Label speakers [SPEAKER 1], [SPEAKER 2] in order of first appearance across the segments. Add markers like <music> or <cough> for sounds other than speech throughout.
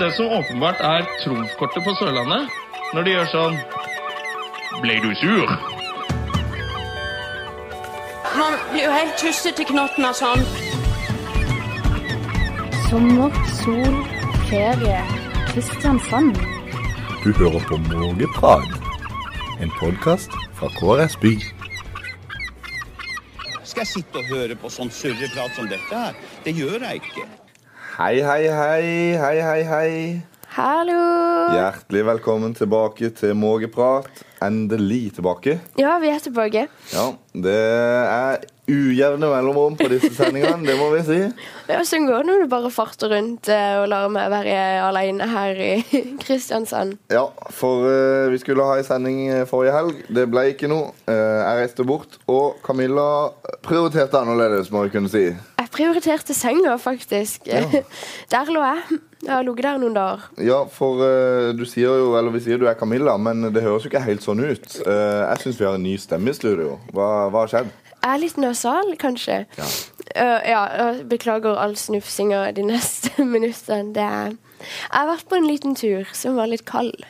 [SPEAKER 1] Det som åpenbart er trumfkortet på Sørlandet, når de gjør sånn Ble du sur?
[SPEAKER 2] Man blir jo helt tussete i knotten av sånn.
[SPEAKER 3] Sommer, sol, ferie. Kristiansand.
[SPEAKER 4] Du hører på Mågeprat, en podkast fra KrS By.
[SPEAKER 5] Skal jeg sitte og høre på sånn surreprat som dette her? Det gjør jeg ikke.
[SPEAKER 4] Hei, hei, hei. Hei, hei, hei.
[SPEAKER 6] Hallo!
[SPEAKER 4] Hjertelig velkommen tilbake til Mågeprat. Endelig tilbake.
[SPEAKER 6] Ja, vi er tilbake.
[SPEAKER 4] Ja, det er ujevne mellomrom på disse sendingene, det må vi si.
[SPEAKER 6] Ja, Sånn går det når du bare farter rundt eh, og lar meg være alene her i <laughs> Kristiansand.
[SPEAKER 4] Ja, for eh, vi skulle ha en sending eh, forrige helg. Det ble ikke noe. Eh, jeg reiste bort, og Camilla prioriterte annerledes, må vi kunne si.
[SPEAKER 6] Jeg prioriterte senga, faktisk. <laughs> Der lå jeg. Jeg har ligget der noen dager.
[SPEAKER 4] Ja, for eh, du sier jo, eller vi sier du er Camilla, men det høres jo ikke helt sånn ut. Eh, jeg syns vi har en ny stemme i studio. Hva, hva har skjedd?
[SPEAKER 6] Jeg er litt nasal, kanskje.
[SPEAKER 4] Ja.
[SPEAKER 6] Eh, ja, jeg beklager all snufsinga de neste <laughs> minuttene. Det er Jeg har vært på en liten tur som var litt kald.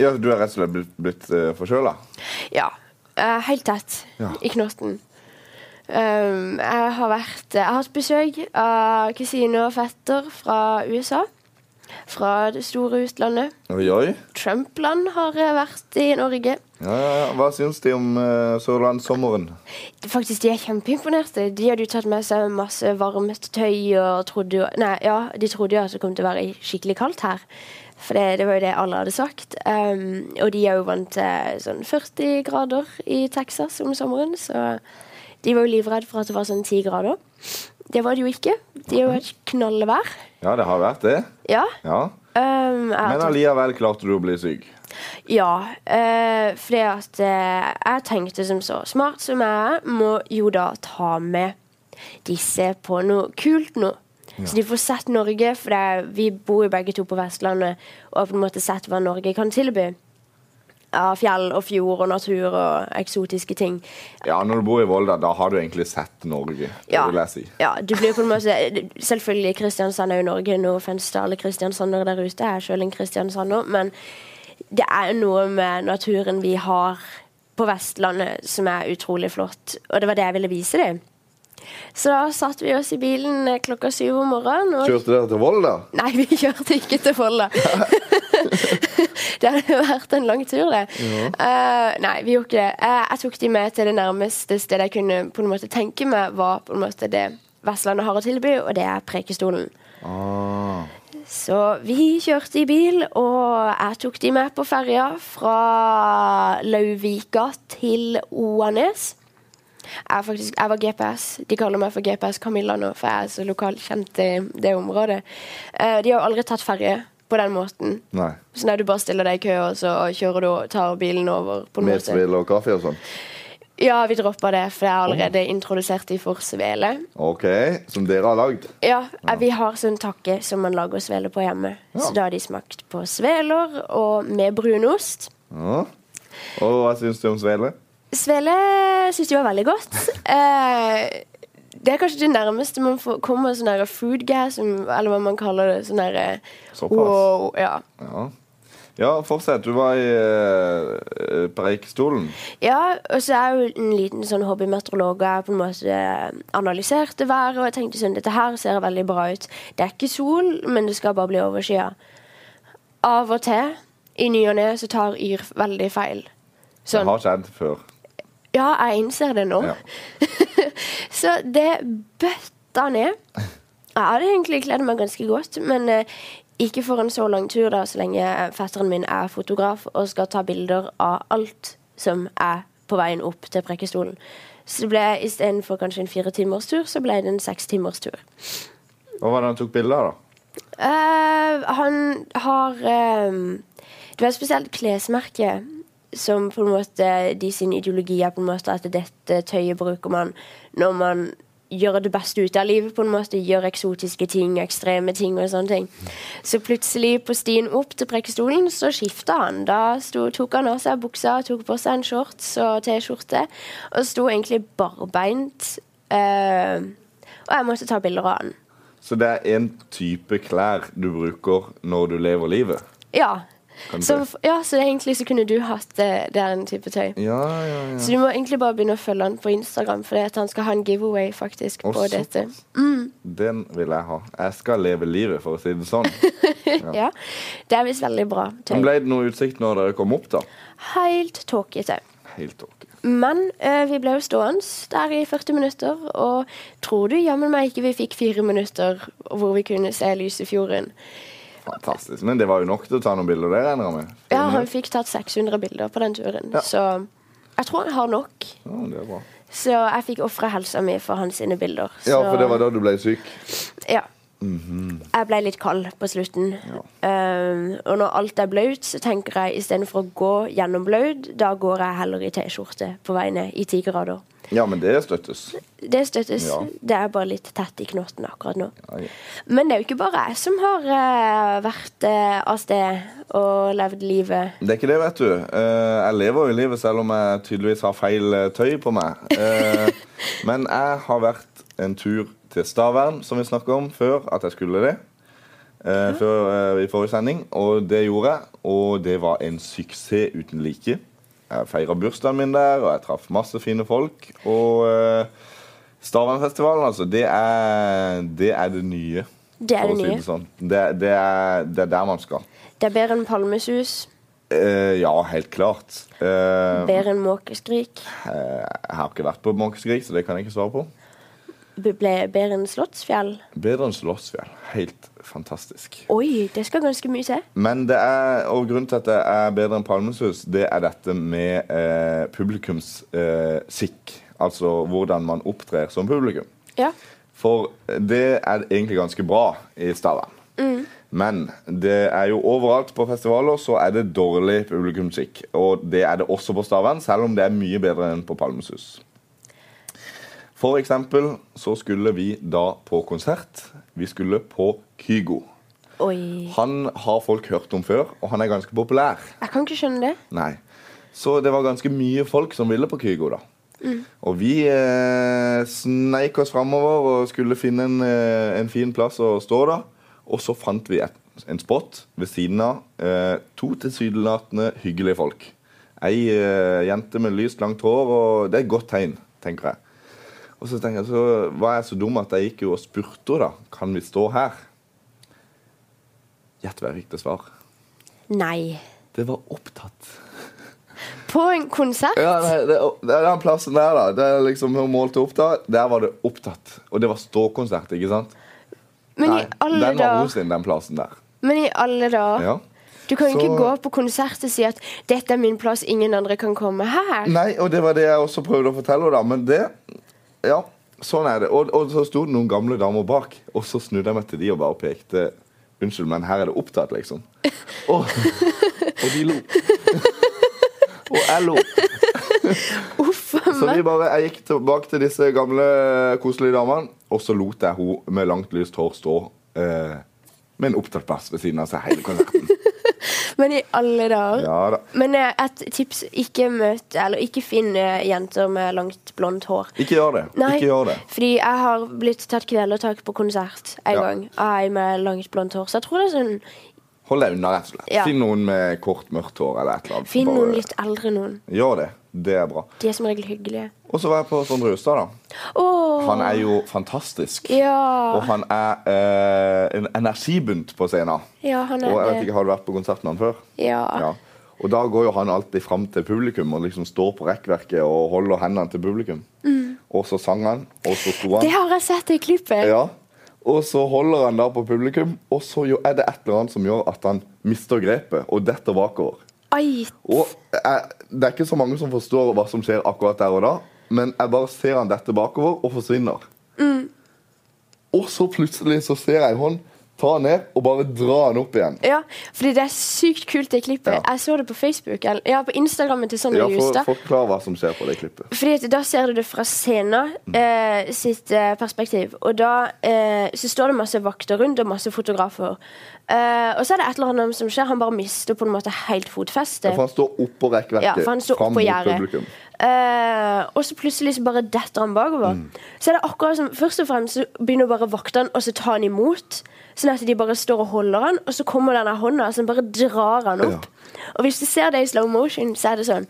[SPEAKER 4] Ja, Du er rett og slett blitt, blitt uh, forkjøla?
[SPEAKER 6] Ja. eh, helt tett
[SPEAKER 4] Ja.
[SPEAKER 6] i knotten. Um, jeg har vært Jeg har hatt besøk av kusine og fetter fra USA. Fra det store utlandet.
[SPEAKER 4] Oi, oi.
[SPEAKER 6] Trump-land har eh, vært i Norge.
[SPEAKER 4] Ja, ja, ja. Hva syns de om uh, sørlandssommeren?
[SPEAKER 6] Faktisk, De er kjempeimponerte. De hadde jo tatt med seg masse varmt tøy. og trodde jo, nei, ja, De trodde jo at det kom til å være skikkelig kaldt her. For det, det var jo det alle hadde sagt. Um, og de er jo vant til sånn 40 grader i Texas om sommeren. Så de var jo livredde for at det var sånn 10 grader. Det var det jo ikke. De har jo hatt knallvær.
[SPEAKER 4] Ja, det har vært det.
[SPEAKER 6] Ja.
[SPEAKER 4] Ja.
[SPEAKER 6] Um, jeg
[SPEAKER 4] Men
[SPEAKER 6] tok-
[SPEAKER 4] allikevel klarte du å bli syk.
[SPEAKER 6] Ja, øh, fordi at eh, jeg tenkte som så smart som jeg er, må jo da ta med disse på noe kult nå. Så de får sett Norge, for det er, vi bor jo begge to på Vestlandet, og har på en måte sett hva Norge kan tilby. Av fjell og fjord og natur og eksotiske ting.
[SPEAKER 4] Ja, Når du bor i Volda, da har du egentlig sett Norge. det vil jeg si.
[SPEAKER 6] ja, det blir på en måte Selvfølgelig, Kristiansand er jo Norge. Nå fins det alle kristiansandere der ute. Jeg er sjøl en kristiansander. Men det er jo noe med naturen vi har på Vestlandet som er utrolig flott. Og det var det jeg ville vise dem. Så da satte vi oss i bilen eh, klokka syv om morgenen. Og
[SPEAKER 4] Kjørte dere til Volda?
[SPEAKER 6] Nei, vi kjørte ikke til Folda. <laughs> det hadde jo vært en lang tur, det. Eh, nei, vi gjorde ikke det. Eh, jeg tok de med til det nærmeste stedet jeg kunne på en måte tenke meg var på en måte det Vestlandet har å tilby, og det er Prekestolen.
[SPEAKER 4] Ah.
[SPEAKER 6] Så vi kjørte i bil, og jeg tok de med på ferja fra Lauvika til Oanes. Jeg, er faktisk, jeg var GPS. De kaller meg for GPS Camilla nå, for jeg er så lokalt kjent i det området. Eh, de har jo aldri tatt ferje på den måten.
[SPEAKER 4] Nei.
[SPEAKER 6] Så nei, du bare stiller deg i kø, og så kjører du og tar bilen over. på en
[SPEAKER 4] Med
[SPEAKER 6] måte.
[SPEAKER 4] svele og kaffe og sånn?
[SPEAKER 6] Ja, vi droppa det, for jeg har allerede introdusert de for svele.
[SPEAKER 4] OK. Som dere har lagd?
[SPEAKER 6] Ja, eh, vi har sånn takke som man lager svele på hjemme. Så da har de smakt på sveler og med brunost.
[SPEAKER 4] Ja. Og hva syns du om svele?
[SPEAKER 6] Svele syns de var veldig godt. Eh, det er kanskje det nærmeste man får, kommer sånn der food gas, som- eller hva man kaller det. Sånn der,
[SPEAKER 4] Såpass.
[SPEAKER 6] wow, ja.
[SPEAKER 4] Ja. ja, fortsett. Du var i eh, Preikestolen.
[SPEAKER 6] ja, og så er jeg jo en liten sånn hobbymeteorolog, og jeg på en måte eh, analyserte været, og jeg tenkte sånn, dette her ser veldig bra ut. Det er ikke sol, men det skal bare bli overskyet. Av og til, i ny og ne, så tar Yr veldig feil.
[SPEAKER 4] Det
[SPEAKER 6] Sånn,
[SPEAKER 4] har skjedd før.
[SPEAKER 6] Ja, jeg innser det nå.
[SPEAKER 4] Ja.
[SPEAKER 6] <laughs> så det bøtta ned. Jeg hadde egentlig kledd meg ganske godt, men eh, ikke for en så lang tur, da, så lenge fetteren min er fotograf og skal ta bilder av alt som er på veien opp til Prekkestolen. Så det ble istedenfor kanskje en fire timers tur, så ble det en seks timers tur.
[SPEAKER 4] Hva var det han tok bilde av, da?
[SPEAKER 6] Eh, han har ehm, Det var et spesielt klesmerke som på en måte de sin ideologi er på en måte at dette tøyet bruker man når man gjør det beste ut av livet, på en måte gjør eksotiske ting, ekstreme ting og sånne ting. Så plutselig på stien opp til Preikestolen så skifta han. Da sto, tok han av seg buksa, tok på seg en shorts og T-skjorte og sto egentlig barbeint. eh, og jeg måtte ta bilder av han.
[SPEAKER 4] Så det er én type klær du bruker når du lever livet?
[SPEAKER 6] Ja.
[SPEAKER 4] Kan
[SPEAKER 6] Så,
[SPEAKER 4] du-
[SPEAKER 6] f- ja, så egentlig så kunne du hatt eh, den type tøy.
[SPEAKER 4] Ja, ja, ja.
[SPEAKER 6] Så du må egentlig bare begynne å følge han på Instagram, for det at han skal ha en giveaway faktisk
[SPEAKER 4] Å,
[SPEAKER 6] på
[SPEAKER 4] såpass.
[SPEAKER 6] dette.
[SPEAKER 4] Den vil jeg ha. Jeg skal leve livet, for å si det sånn.
[SPEAKER 6] <laughs> Ja. Det er visst veldig bra tøy.
[SPEAKER 4] Men ble det noe utsikt når dere kom opp, da?
[SPEAKER 6] Helt tåkete.
[SPEAKER 4] Helt ok.
[SPEAKER 6] Men eh, vi ble jo stående der i 40 minutter, og tror du jammen meg ikke vi fikk fire minutter hvor vi kunne se Lysefjorden.
[SPEAKER 4] Fantastisk. Men det var jo nok til å ta noen bilder, det regner jeg med.
[SPEAKER 6] Ja, han fikk tatt 600 bilder på den turen,
[SPEAKER 4] Ja.
[SPEAKER 6] så jeg tror han har nok.
[SPEAKER 4] Ja, det er bra.
[SPEAKER 6] Så jeg fikk ofra helsa mi for hans sine bilder.
[SPEAKER 4] Ja,
[SPEAKER 6] så-
[SPEAKER 4] for det var da du ble syk.
[SPEAKER 6] Ja.
[SPEAKER 4] Mhm.
[SPEAKER 6] Jeg ble litt kald på slutten. Um, og når alt er blaut, så tenker jeg istedenfor å gå gjennom blaut, da går jeg heller i T-skjorte på vei ned i ti grader.
[SPEAKER 4] Ja, men det støttes.
[SPEAKER 6] Det støttes.
[SPEAKER 4] Ja.
[SPEAKER 6] Det er bare litt tett i knotten akkurat nå.
[SPEAKER 4] Ja, ja.
[SPEAKER 6] Men det er jo ikke bare jeg som har eh, vært eh, av sted og levd livet.
[SPEAKER 4] Det er ikke det, vet du. Eh, jeg lever jo livet selv om jeg tydeligvis har feil eh, tøy på meg. Eh, men jeg har vært en tur til Stavern, som vi snakket om før at jeg skulle det. eh, før, eh, I forrige sending. Og det gjorde jeg. Og det var en suksess uten like. Jeg feira bursdagen min der, og jeg traff masse fine folk. Og eh, Stavernfestivalen, altså, det er det, er det nye.
[SPEAKER 6] Det er
[SPEAKER 4] for å
[SPEAKER 6] det
[SPEAKER 4] si
[SPEAKER 6] nye.
[SPEAKER 4] sånn. Det, det, er, det er der man skal.
[SPEAKER 6] Det er bedre enn palmesus,
[SPEAKER 4] Eh, ja, helt klart. Eh,
[SPEAKER 6] bedre enn måkeskrik,
[SPEAKER 4] eh, jeg har ikke vært på Måkeskrik, så det kan jeg ikke svare på.
[SPEAKER 6] be- ble- bedre enn Slottsfjell.
[SPEAKER 4] Bedre enn Slottsfjell. Helt fantastisk.
[SPEAKER 6] Oi, det skal ganske mye til.
[SPEAKER 4] Men det er, og grunnen til at det er bedre enn Palmesus, det er dette med eh, publikumssikk. Eh, sikk. altså hvordan man opptrer som publikum.
[SPEAKER 6] Ja.
[SPEAKER 4] For det er egentlig ganske bra i Stavern. Men det er jo overalt på festivaler så er det dårlig publikumsskikk. Og det er det også på Stavern, selv om det er mye bedre enn på Palmesus. For eksempel så skulle vi da på konsert. Vi skulle på Kygo.
[SPEAKER 6] Oi.
[SPEAKER 4] Han har folk hørt om før, og han er ganske populær.
[SPEAKER 6] Jeg kan ikke skjønne det.
[SPEAKER 4] Nei. Så det var ganske mye folk som ville på Kygo, da. Og vi eh, sneik oss framover og skulle finne en, eh, en fin plass å stå, da. Og så fant vi et, en spot ved siden av eh, to tilsynelatende hyggelige folk. Ei eh, jente med lyst, langt hår, og det er et godt tegn, tenker jeg. Og så tenker jeg, så var jeg så dum at jeg gikk jo og spurte henne, da. Kan vi stå her? Gjett hva jeg fikk til svar.
[SPEAKER 6] Nei.
[SPEAKER 4] Det var opptatt.
[SPEAKER 6] På en konsert?
[SPEAKER 4] Ja, nei, det, det er den plassen der, da. Det er liksom hun målte opp da. Der var det opptatt. Og det var ståkonsert, ikke sant?
[SPEAKER 6] Men
[SPEAKER 4] nei,
[SPEAKER 6] i alle
[SPEAKER 4] den var
[SPEAKER 6] dager.
[SPEAKER 4] hos sin, den plassen der.
[SPEAKER 6] Men i alle dager.
[SPEAKER 4] Ja.
[SPEAKER 6] Du kan jo
[SPEAKER 4] Så-
[SPEAKER 6] ikke gå på konsert og si at 'dette er min plass, ingen andre kan komme her'.
[SPEAKER 4] Nei, og det var det jeg også prøvde å fortelle henne, da. Men det Ja, sånn er det. Og, og så sto det noen gamle damer bak, og så snudde jeg meg til de og bare pekte. Unnskyld, men her er det opptatt,
[SPEAKER 6] <laughs>
[SPEAKER 4] liksom. Og, og de lo. Og jeg lo.
[SPEAKER 6] Uff a
[SPEAKER 4] Så
[SPEAKER 6] meg.
[SPEAKER 4] vi bare, jeg gikk tilbake til disse gamle, koselige damene, og så lot jeg hun med langt lyst hår stå eh, med en opptatt plass ved siden av seg hele
[SPEAKER 6] <laughs>
[SPEAKER 4] konserten.
[SPEAKER 6] Men i alle dager.
[SPEAKER 4] Ja da.
[SPEAKER 6] Men eh, et tips ikke møt Eller ikke finn eh, jenter med langt blondt hår.
[SPEAKER 4] Ikke gjør det.
[SPEAKER 6] Nei,
[SPEAKER 4] Ikke gjør det.
[SPEAKER 6] fordi jeg har blitt tatt kvelertak på konsert en
[SPEAKER 4] Ja.
[SPEAKER 6] gang av ei med langt blondt hår. Så jeg tror det er sånn
[SPEAKER 4] Hold deg unna, rett og slett.
[SPEAKER 6] Ja.
[SPEAKER 4] Finn noen med kort, mørkt hår eller et eller annet.
[SPEAKER 6] Finn
[SPEAKER 4] Bare-
[SPEAKER 6] noen litt eldre noen.
[SPEAKER 4] Gjør det. Det er bra.
[SPEAKER 6] De er som regel hyggelige.
[SPEAKER 4] Og så var jeg på Sondre Justad, da.
[SPEAKER 6] Åh,
[SPEAKER 4] Han er jo fantastisk. Og
[SPEAKER 6] Ja.
[SPEAKER 4] han er eh, en energibunt på scenen.
[SPEAKER 6] Ja, han er
[SPEAKER 4] og jeg vet
[SPEAKER 6] det.
[SPEAKER 4] ikke, Har du vært på konsert med han før?
[SPEAKER 6] Ja.
[SPEAKER 4] Og da går jo han alltid fram til publikum og liksom står på rekkverket og holder hendene til publikum. Og så sang han, og så sto
[SPEAKER 6] Mm. Det
[SPEAKER 4] han.
[SPEAKER 6] har jeg sett i klippet.
[SPEAKER 4] Ja. Og så holder han da på publikum, og så jo- er det et eller annet som gjør at han mister grepet og detter bakover.
[SPEAKER 6] Ai,
[SPEAKER 4] Og jeg, Det er ikke så mange som forstår hva som skjer akkurat der og da, men jeg bare ser han dette bakover og forsvinner.
[SPEAKER 6] Mm.
[SPEAKER 4] Og så plutselig så ser jeg en hånd ta han ned og bare dra han opp igjen.
[SPEAKER 6] Ja, fordi det er sykt kult, det klippet.
[SPEAKER 4] Ja.
[SPEAKER 6] Jeg så det på Facebook, eller ja, på Instagrammen til Sondre
[SPEAKER 4] Ja, for,
[SPEAKER 6] Justad.
[SPEAKER 4] Forklar hva som skjer på det klippet.
[SPEAKER 6] Fordi at Da ser du det fra scenen
[SPEAKER 4] Mm.
[SPEAKER 6] eh, sitt eh, perspektiv. Og da eh, så står det masse vakter rundt og masse fotografer. Eh, og så er det et eller annet som skjer. Han bare mister på en måte
[SPEAKER 4] Ja,
[SPEAKER 6] helt fotfestet.
[SPEAKER 4] for han står oppå rekkverket.
[SPEAKER 6] Ja, for han står
[SPEAKER 4] fram
[SPEAKER 6] oppå
[SPEAKER 4] mot
[SPEAKER 6] gjerdet.
[SPEAKER 4] publikum.
[SPEAKER 6] Eh, og så plutselig så bare detter han bakover.
[SPEAKER 4] Mm.
[SPEAKER 6] Så er det akkurat som Først og fremst så begynner bare vaktene å så ta han imot. Sånn at de bare står og holder han, og så kommer denne hånda som bare drar han opp. Og hvis du ser det i slow motion, så er det sånn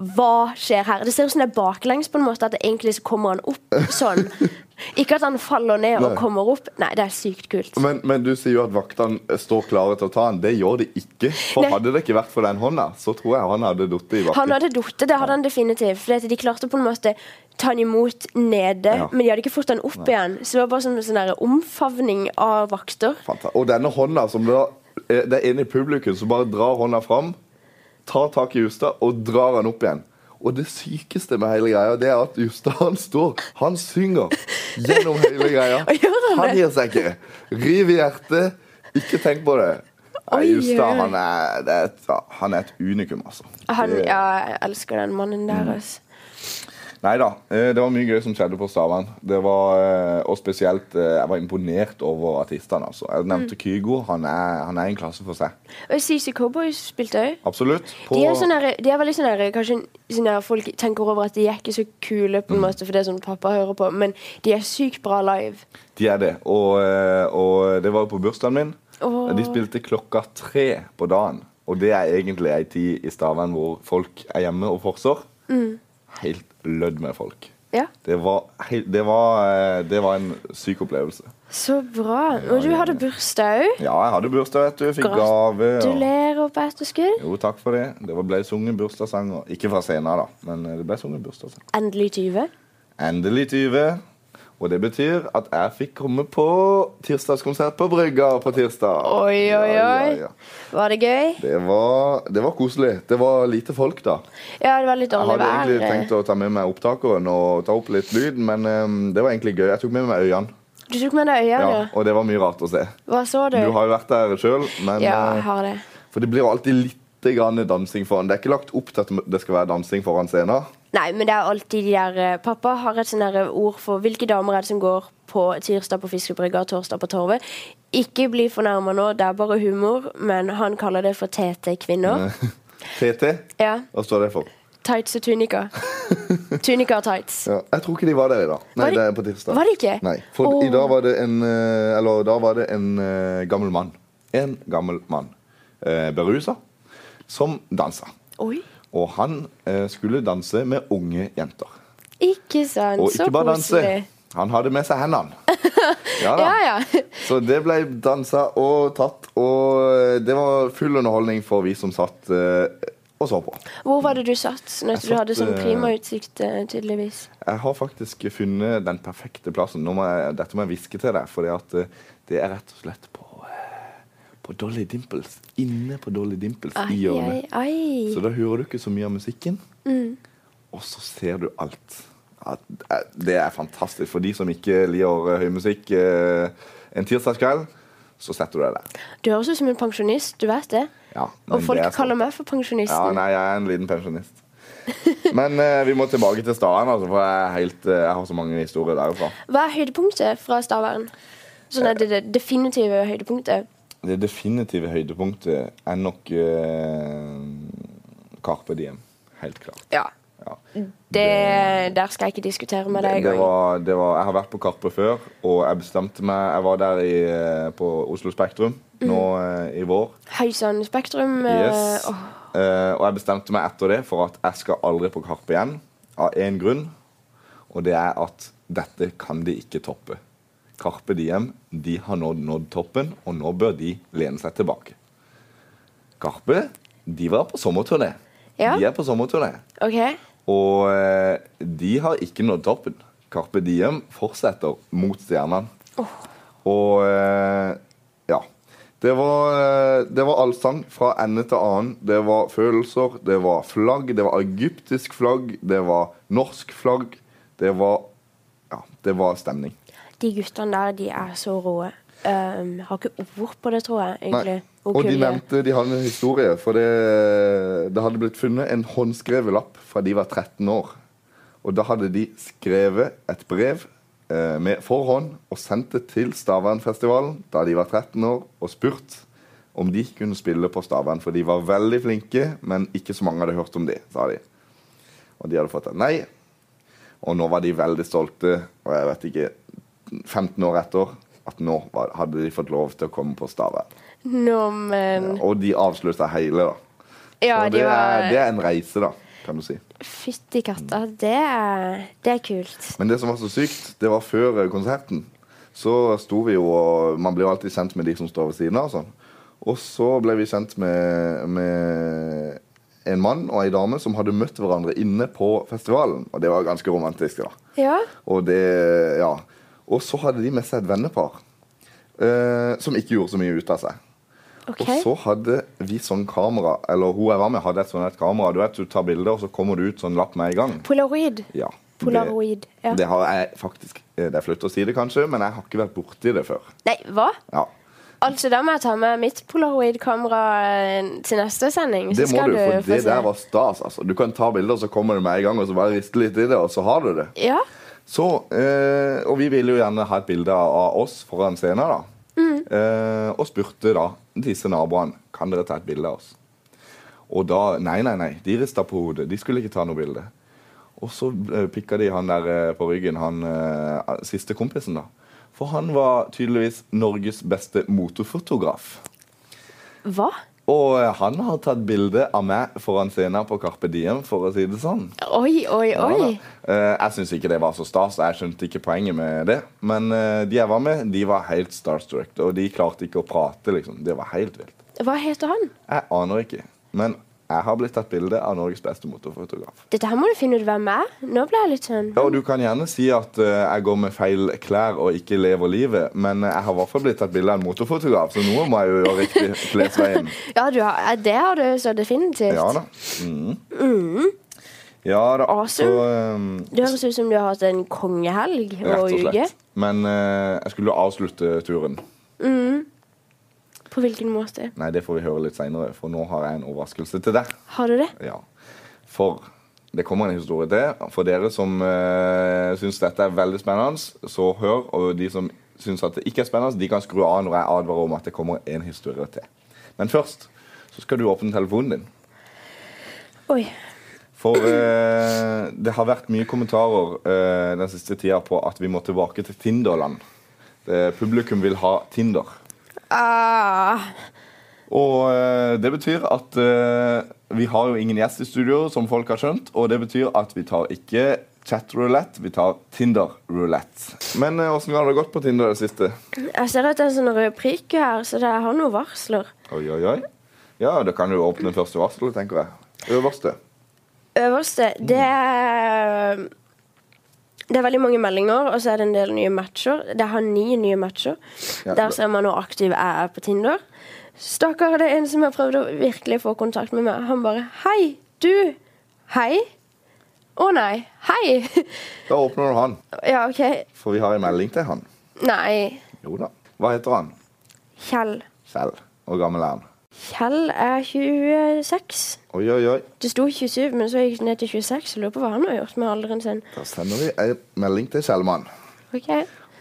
[SPEAKER 6] Hva skjer her? Det ser ut som det er baklengs, på en måte at det egentlig så kommer han opp sånn.
[SPEAKER 4] <laughs>
[SPEAKER 6] Ikke at han faller ned og
[SPEAKER 4] Nei.
[SPEAKER 6] kommer opp. Nei, det er sykt kult.
[SPEAKER 4] Men, men du sier jo at vaktene eh, står klare til å ta han. Det gjør de ikke. For
[SPEAKER 6] Nei.
[SPEAKER 4] hadde det ikke vært for den hånda, så tror jeg han hadde falt i
[SPEAKER 6] Han
[SPEAKER 4] bakken.
[SPEAKER 6] hadde datt, det hadde han definitivt. For de klarte på en måte ta han imot nede,
[SPEAKER 4] Ja.
[SPEAKER 6] men de hadde ikke fått han opp igjen. Så det var bare sånn, sånn der omfavning av vakter.
[SPEAKER 4] Fanta- Og denne hånda som da eh, Det er en i publikum som bare drar hånda fram, tar tak i Justad og drar han opp igjen. Og det sykeste med hele greia, det er at Justad han står, han synger gjennom hele greia.
[SPEAKER 6] <laughs> Og gjør han det?
[SPEAKER 4] gir seg ikke. Riv i hjertet. Ikke tenk på det. Nei,
[SPEAKER 6] Oi, oi. Ah.
[SPEAKER 4] Justad, han er, det er, et- han er et unikum, altså.
[SPEAKER 6] Han,
[SPEAKER 4] Det-
[SPEAKER 6] ja, jeg elsker den mannen
[SPEAKER 4] Mm.
[SPEAKER 6] der, altså.
[SPEAKER 4] Nei da. eh, Det var mye gøy som skjedde på Stavern. Det var, eh, Og spesielt eh, Jeg var imponert over artistene. Altså. Jeg
[SPEAKER 6] Mm.
[SPEAKER 4] nevnte Kygo. Han er, han er i en klasse for seg.
[SPEAKER 6] Og CC Cowboys spilte òg.
[SPEAKER 4] Absolutt. På-
[SPEAKER 6] De er, sånn der, de er veldig sånn der, Kanskje sånn der folk tenker over at de er ikke så
[SPEAKER 4] Mm.
[SPEAKER 6] kule, på en måte, for det er sånn pappa hører på, men de er sykt bra live.
[SPEAKER 4] de er det. Og, eh, og det var jo på bursdagen min.
[SPEAKER 6] Åh.
[SPEAKER 4] De spilte klokka tre på dagen. Og det er egentlig ei tid i Stavern hvor folk er hjemme og forsår.
[SPEAKER 6] Mm.
[SPEAKER 4] Helt lødd med folk.
[SPEAKER 6] Ja,
[SPEAKER 4] Det var, hei- det, var, eh, det var en syk opplevelse.
[SPEAKER 6] Så bra. Og du
[SPEAKER 4] ja,
[SPEAKER 6] hadde bursdag òg.
[SPEAKER 4] Ja, jeg hadde bursdag, vet du. Fikk gave. og-
[SPEAKER 6] Gratulerer på etterskudd.
[SPEAKER 4] Jo, takk for det. Det var- ble sunget bursdagssanger. Ikke fra scenen, da, men eh, det ble sunget bursdagssang.
[SPEAKER 6] Endelig 20.
[SPEAKER 4] Endelig 20. Og det betyr at jeg fikk komme på tirsdagskonsert på Brygga på tirsdag.
[SPEAKER 6] Oi, oi,
[SPEAKER 4] Ja, ja,
[SPEAKER 6] oi.
[SPEAKER 4] ja.
[SPEAKER 6] Var det gøy?
[SPEAKER 4] Det var, det var koselig. Det var lite folk, da.
[SPEAKER 6] Ja, det var litt
[SPEAKER 4] Jeg
[SPEAKER 6] dårlig
[SPEAKER 4] hadde
[SPEAKER 6] vær.
[SPEAKER 4] egentlig tenkt å ta med meg opptakeren og ta opp litt lyd, men eh, det var egentlig gøy. Jeg tok med meg øynene,
[SPEAKER 6] Du tok med deg øynene.
[SPEAKER 4] ja, og det var mye rart å se.
[SPEAKER 6] Hva så du?
[SPEAKER 4] Du har jo vært der sjøl, men
[SPEAKER 6] Ja,
[SPEAKER 4] eh,
[SPEAKER 6] jeg har det.
[SPEAKER 4] For det blir jo alltid litt grann dansing foran. Det er ikke lagt opp til at det skal være dansing foran scenen.
[SPEAKER 6] Nei, men det er alltid de der eh, Pappa har et sånn der ord for hvilke damer er det som går på tirsdag på Fiskebrygga og torsdag på Torvet. Ikke bli fornærma nå, det er bare humor, men han kaller det for TT-kvinner.
[SPEAKER 4] <laughs> TT,
[SPEAKER 6] Ja.
[SPEAKER 4] hva står det for?
[SPEAKER 6] Tights og tunika.
[SPEAKER 4] <laughs>
[SPEAKER 6] Tunika og tights.
[SPEAKER 4] Ja, jeg tror ikke de var der i dag. Nei,
[SPEAKER 6] Var de-
[SPEAKER 4] det er på tirsdag.
[SPEAKER 6] var de ikke?
[SPEAKER 4] Nei, for
[SPEAKER 6] Åh.
[SPEAKER 4] i dag var det en, eh, eller, da var det en eh, gammel mann. En gammel mann. Eh, berusa. Som dansa.
[SPEAKER 6] Oi.
[SPEAKER 4] Og han eh, skulle danse med unge jenter.
[SPEAKER 6] Ikke sant.
[SPEAKER 4] Og
[SPEAKER 6] Så
[SPEAKER 4] ikke bare danse.
[SPEAKER 6] koselig.
[SPEAKER 4] Han hadde med seg
[SPEAKER 6] <laughs>
[SPEAKER 4] hendene. Ja da.
[SPEAKER 6] Ja, ja.
[SPEAKER 4] Så det ble dansa og tatt, og eh, det var full underholdning for vi som satt eh, og så på.
[SPEAKER 6] Hvor var det du satt? Når du
[SPEAKER 4] satt,
[SPEAKER 6] hadde sånn
[SPEAKER 4] eh,
[SPEAKER 6] prima utsikt, eh, tydeligvis.
[SPEAKER 4] Jeg har faktisk funnet den perfekte plassen. Nå må jeg, dette må jeg hviske til deg, for det er rett og slett på, eh, på Dolly Dimples. Inne på Dolly Dimples
[SPEAKER 6] Ai,
[SPEAKER 4] i hjørnet.
[SPEAKER 6] ai, Mm. ai.
[SPEAKER 4] Så da hører du ikke så mye av musikken, og så ser du alt. Ja, det er- det er fantastisk. For de som ikke liker eh, høy musikk eh, en tirsdagskveld, så setter du deg der.
[SPEAKER 6] Du høres ut som en pensjonist, du vet det.
[SPEAKER 4] Ja, men
[SPEAKER 6] Og folk
[SPEAKER 4] det er sant.
[SPEAKER 6] kaller meg for pensjonisten.
[SPEAKER 4] Ja, nei, jeg er en liten pensjonist. Men eh, vi må tilbake til Staden, altså, for jeg, er helt, eh, jeg har så mange historier derfra.
[SPEAKER 6] Hva er høydepunktet fra Stavern? Sånn er det, det definitive høydepunktet.
[SPEAKER 4] Det definitive høydepunktet er nok eh, Carpe Diem. Helt klart.
[SPEAKER 6] Ja.
[SPEAKER 4] Ja.
[SPEAKER 6] Det, der skal jeg ikke diskutere med
[SPEAKER 4] Det,
[SPEAKER 6] deg
[SPEAKER 4] det,
[SPEAKER 6] engang.
[SPEAKER 4] var, det var, jeg har vært på Karpe før, og jeg bestemte meg Jeg var der i, eh, på Oslo Spektrum nå eh, i vår.
[SPEAKER 6] Høysann Spektrum. eh,
[SPEAKER 4] Yes.
[SPEAKER 6] åh.
[SPEAKER 4] Eh, og jeg bestemte meg etter det for at jeg skal aldri på Karpe igjen. Av én grunn, og det er at dette kan de ikke toppe. Karpe Diem de har nådd, nådd toppen, og nå bør de lene seg tilbake. Karpe de var på sommerturné.
[SPEAKER 6] Ja.
[SPEAKER 4] De er på sommerturné.
[SPEAKER 6] OK.
[SPEAKER 4] Og eh, de har ikke nådd toppen. Carpe Diem fortsetter mot stjernene. Og eh, ja. Det var, eh, det var allsang fra ende til annen. Det var følelser, det var flagg. Det var egyptisk flagg, det var norsk flagg. Det var Ja, det var stemning.
[SPEAKER 6] De guttene der, de er så rå. Um, har ikke ord på det, tror jeg, egentlig.
[SPEAKER 4] Nei.
[SPEAKER 6] Hvor
[SPEAKER 4] Og de
[SPEAKER 6] kul er.
[SPEAKER 4] nevnte de hadde en historie. For det, det hadde blitt funnet en håndskrevet lapp fra de var 13 år. Og da hadde de skrevet et brev eh, med forhånd og sendt det til Stavernfestivalen da de var 13 år, og spurt om de kunne spille på Stavern. For de var veldig flinke, men ikke så mange hadde hørt om de, sa de. Og de hadde fått et nei. Og nå var de veldig stolte, og jeg vet ikke 15 år etter, at nå var, hadde de fått lov til å komme på Stavern.
[SPEAKER 6] Nå, men
[SPEAKER 4] Og de avslutta hele, da.
[SPEAKER 6] Ja,
[SPEAKER 4] og
[SPEAKER 6] de
[SPEAKER 4] det, er, det
[SPEAKER 6] var
[SPEAKER 4] er en reise, da, kan du si.
[SPEAKER 6] Fytti katta. Det er, det er kult.
[SPEAKER 4] Men det som var så sykt, det var før eh, konserten. Så sto vi jo og Man blir jo alltid kjent med de som står ved siden av. og Sånn. Og så ble vi kjent med, med en mann og ei dame som hadde møtt hverandre inne på festivalen. Og det var ganske romantisk. da.
[SPEAKER 6] Ja.
[SPEAKER 4] Og det, ja. Og så hadde de med seg et vennepar eh, som ikke gjorde så mye ut av seg.
[SPEAKER 6] OK.
[SPEAKER 4] Og så hadde vi sånn kamera, eller hun jeg var med, hadde et sånt et kamera. Du vet, du tar bilder, og så kommer det ut sånn lapp med en gang.
[SPEAKER 6] Polaroid.
[SPEAKER 4] Ja. det-
[SPEAKER 6] Polaroid. Ja.
[SPEAKER 4] Det har jeg faktisk eh, Det er flaut å si det, kanskje, men jeg har ikke vært borti det før.
[SPEAKER 6] Nei, hva?
[SPEAKER 4] Ja.
[SPEAKER 6] Altså, da må jeg ta med mitt polaroid-kamera eh, til neste sending.
[SPEAKER 4] Det
[SPEAKER 6] så
[SPEAKER 4] må
[SPEAKER 6] skal
[SPEAKER 4] du, for
[SPEAKER 6] få
[SPEAKER 4] det
[SPEAKER 6] se.
[SPEAKER 4] der var stas. Altså. Du kan ta bilder, så kommer det med en gang, og så bare riste litt i det, og så har du det.
[SPEAKER 6] Ja.
[SPEAKER 4] Så, eh, Og vi ville jo gjerne ha et bilde av oss foran scenen, da. Eh, og spurte da disse naboene kan dere ta et bilde av oss. Og da Nei, nei, nei. De rista på hodet. De skulle ikke ta noe bilde. Og så eh, pikka de han der eh, på ryggen, han eh, siste kompisen, da. For han var tydeligvis Norges beste motorfotograf.
[SPEAKER 6] Hva?
[SPEAKER 4] Og eh, han har tatt bilde av meg foran scenen på Carpe Diem, for å si det sånn.
[SPEAKER 6] Oi, oi,
[SPEAKER 4] Ja, da.
[SPEAKER 6] oi.
[SPEAKER 4] Eh, jeg syns ikke det var så stas, og jeg skjønte ikke poenget med det. Men eh, de jeg var med, de var helt starstruck, og de klarte ikke å prate. liksom. Det var helt vilt.
[SPEAKER 6] Hva heter han?
[SPEAKER 4] Jeg aner ikke. Men jeg har blitt tatt bilde av Norges beste motorfotograf.
[SPEAKER 6] Dette her må du finne ut hvem er. Nå ble jeg litt sånn
[SPEAKER 4] Ja, og Du kan gjerne si at eh, jeg går med feil klær og ikke lever livet, men eh, jeg har i hvert fall blitt tatt bilde av en motorfotograf, så noe må jeg jo gjøre
[SPEAKER 6] <laughs>
[SPEAKER 4] riktig. klesveien.
[SPEAKER 6] Ja, du har, eh, det har du så definitivt.
[SPEAKER 4] Ja da. Mm. Ja da.
[SPEAKER 6] Awesome.
[SPEAKER 4] Så, eh,
[SPEAKER 6] Det høres ut som du har hatt en kongehelg og
[SPEAKER 4] rett og
[SPEAKER 6] uke.
[SPEAKER 4] slett. Men eh, jeg skulle jo avslutte turen.
[SPEAKER 6] På hvilken måte?
[SPEAKER 4] Nei, det får vi høre litt seinere, for nå har jeg en overraskelse til deg.
[SPEAKER 6] Har du det?
[SPEAKER 4] Ja. For det kommer en historie til. For dere som uh, syns dette er veldig spennende, så hør. Og de som syns at det ikke er spennende, de kan skru av når jeg advarer om at det kommer en historie til. Men først så skal du åpne telefonen din.
[SPEAKER 6] Oi.
[SPEAKER 4] For eh, det har vært mye kommentarer eh, den siste tida på at vi må tilbake til Tinderland. Det, publikum vil ha Tinder.
[SPEAKER 6] Ah,
[SPEAKER 4] Og eh, det betyr at eh, vi har jo ingen gjest i studio, som folk har skjønt. Og det betyr at vi tar ikke chatroulette, vi tar Tinder-roulette. Men eh, åssen har det gått på Tinder i det siste?
[SPEAKER 6] jeg ser at det er en sånn rød prikk her, så det har noen varsler.
[SPEAKER 4] Oi, oi, oi. Ja, da kan du jo åpne første varsel, tenker jeg. Øverste.
[SPEAKER 6] Øverste, det er det er veldig mange meldinger, og så er det en del nye matcher. Det har ni nye matcher.
[SPEAKER 4] Ja,
[SPEAKER 6] Der
[SPEAKER 4] da-
[SPEAKER 6] ser man hvor aktiv jeg er på Tinder. Stakkar, det er en som har prøvd å virkelig få kontakt med meg. Han bare Hei, du. Hei. Å nei. Hei. <laughs>
[SPEAKER 4] Da åpner du han,
[SPEAKER 6] ja, OK.
[SPEAKER 4] for vi har en melding til han.
[SPEAKER 6] Nei.
[SPEAKER 4] Jo da. Hva heter han?
[SPEAKER 6] Kjell.
[SPEAKER 4] Kjell. Hvor gammel er han?
[SPEAKER 6] Kjell er 26.
[SPEAKER 4] Oi, oi, oi.
[SPEAKER 6] Det sto 27, men så gikk det ned til 26. Jeg lurer på hva han har gjort med alderen sin.
[SPEAKER 4] Da sender vi en melding til Kjellmann.
[SPEAKER 6] Ok.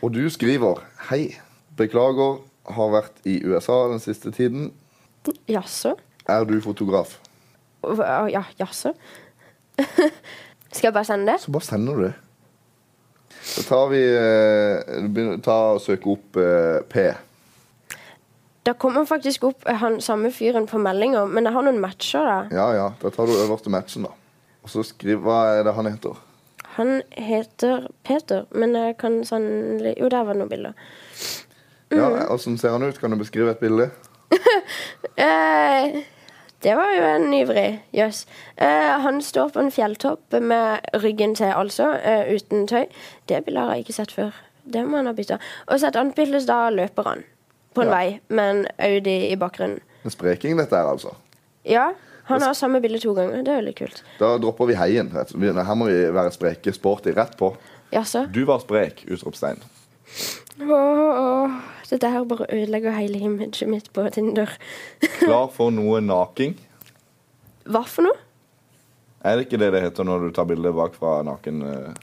[SPEAKER 4] Og du skriver Hei. Beklager, har vært i USA den siste tiden.
[SPEAKER 6] Jaså?
[SPEAKER 4] Er du fotograf?
[SPEAKER 6] Hva- Ja, jaså? <laughs> Skal jeg bare sende det?
[SPEAKER 4] Så bare sender du det. Så tar vi eh, du begynner- ta og søke opp eh, P.
[SPEAKER 6] Da kommer faktisk opp eh, han samme fyren på meldinger, men jeg har noen matcher, da.
[SPEAKER 4] Ja, ja. Da tar du øverste matchen, da. Og så skriv Hva er det han heter?
[SPEAKER 6] Han heter Peter, men jeg kan sannelig Jo, der var det noen bilder.
[SPEAKER 4] Ja, Åssen ser han ut? Kan du beskrive et bilde?
[SPEAKER 6] Eh, det var jo en ivrig jøss. Eh, han står på en fjelltopp med ryggen til, altså, eh, uten tøy. Det bildet har jeg ikke sett før. Det må han ha bytta. Og så et annet bilde, så da løper han på en
[SPEAKER 4] Ja.
[SPEAKER 6] vei med en Audi i bakgrunnen.
[SPEAKER 4] En spreking, dette her, altså.
[SPEAKER 6] Ja, han har samme bilde to ganger. Det er veldig kult.
[SPEAKER 4] Da dropper vi heien. rett. Vi- Her må vi være spreke, sporty, rett på.
[SPEAKER 6] Jaså?
[SPEAKER 4] Du var sprek! Utropstegn.
[SPEAKER 6] Åh, åh, åh. Dette her bare ødelegger hele imaget mitt på Tinder. <laughs>
[SPEAKER 4] Klar for noe naking?
[SPEAKER 6] Hva for noe?
[SPEAKER 4] Er det ikke det det heter når du tar bilde bakfra naken? eh,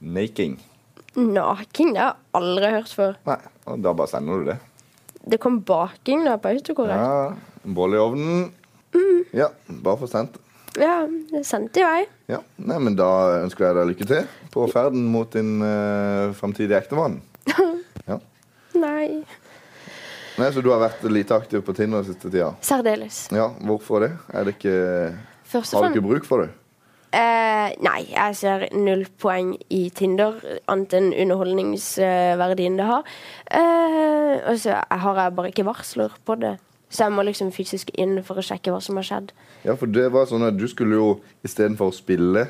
[SPEAKER 4] naking.
[SPEAKER 6] Naking? Det har jeg aldri hørt før.
[SPEAKER 4] Nei, og da bare sender du det.
[SPEAKER 6] Det kom baking da på autokorrekt.
[SPEAKER 4] Ja, en Boll i ovnen. Ja, bare få sendt.
[SPEAKER 6] Ja, det sendte jeg.
[SPEAKER 4] Ja, nei, men Da ønsker jeg deg lykke til på ferden mot din uh, framtidige ektemann. Ja.
[SPEAKER 6] Nei.
[SPEAKER 4] Nei, Så du har vært lite aktiv på Tinder den siste tida?
[SPEAKER 6] Særdeles.
[SPEAKER 4] Ja, Hvorfor det? Er det ikke,
[SPEAKER 6] Først og
[SPEAKER 4] har du
[SPEAKER 6] fremst
[SPEAKER 4] ikke bruk for det?
[SPEAKER 6] eh, Nei, jeg ser null poeng i Tinder, annet enn underholdningsverdien det har. Eh, og så har jeg bare ikke varsler på det. Så jeg må liksom fysisk inn for å sjekke hva som har skjedd.
[SPEAKER 4] Ja, for det var sånn at du skulle jo istedenfor å spille,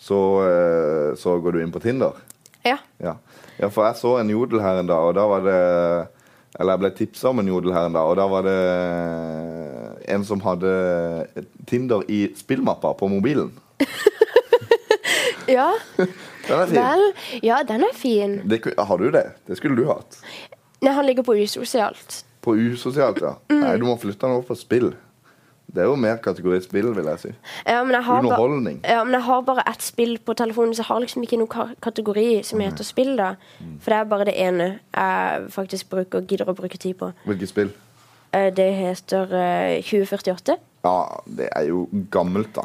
[SPEAKER 4] så, eh, så går du inn på Tinder.
[SPEAKER 6] Ja.
[SPEAKER 4] Ja. ja, for jeg så en jodel her en dag, og da var det Eller jeg ble tipsa om en jodel her en dag, og da var det en som hadde Tinder i spillmappa på mobilen.
[SPEAKER 6] Ja,
[SPEAKER 4] Den er fin.
[SPEAKER 6] vel. Ja, den er fin.
[SPEAKER 4] Det, ku- har du det? Det skulle du hatt.
[SPEAKER 6] Nei, han ligger på usosialt.
[SPEAKER 4] På usosialt, ja.
[SPEAKER 6] Mm.
[SPEAKER 4] Nei, du må flytte den over på spill. Det er jo mer kategori spill, vil jeg si.
[SPEAKER 6] Ja, men jeg har bare-
[SPEAKER 4] Underholdning.
[SPEAKER 6] Ja, men jeg har bare ett spill på telefonen, så jeg har liksom ikke noen ka kategori som heter spill, da.
[SPEAKER 4] Mm.
[SPEAKER 6] For det er bare det ene jeg faktisk bruker, gidder å bruke tid på.
[SPEAKER 4] Hvilket spill?
[SPEAKER 6] Eh, Det heter eh, 2048.
[SPEAKER 4] Ja, det er jo gammelt, da.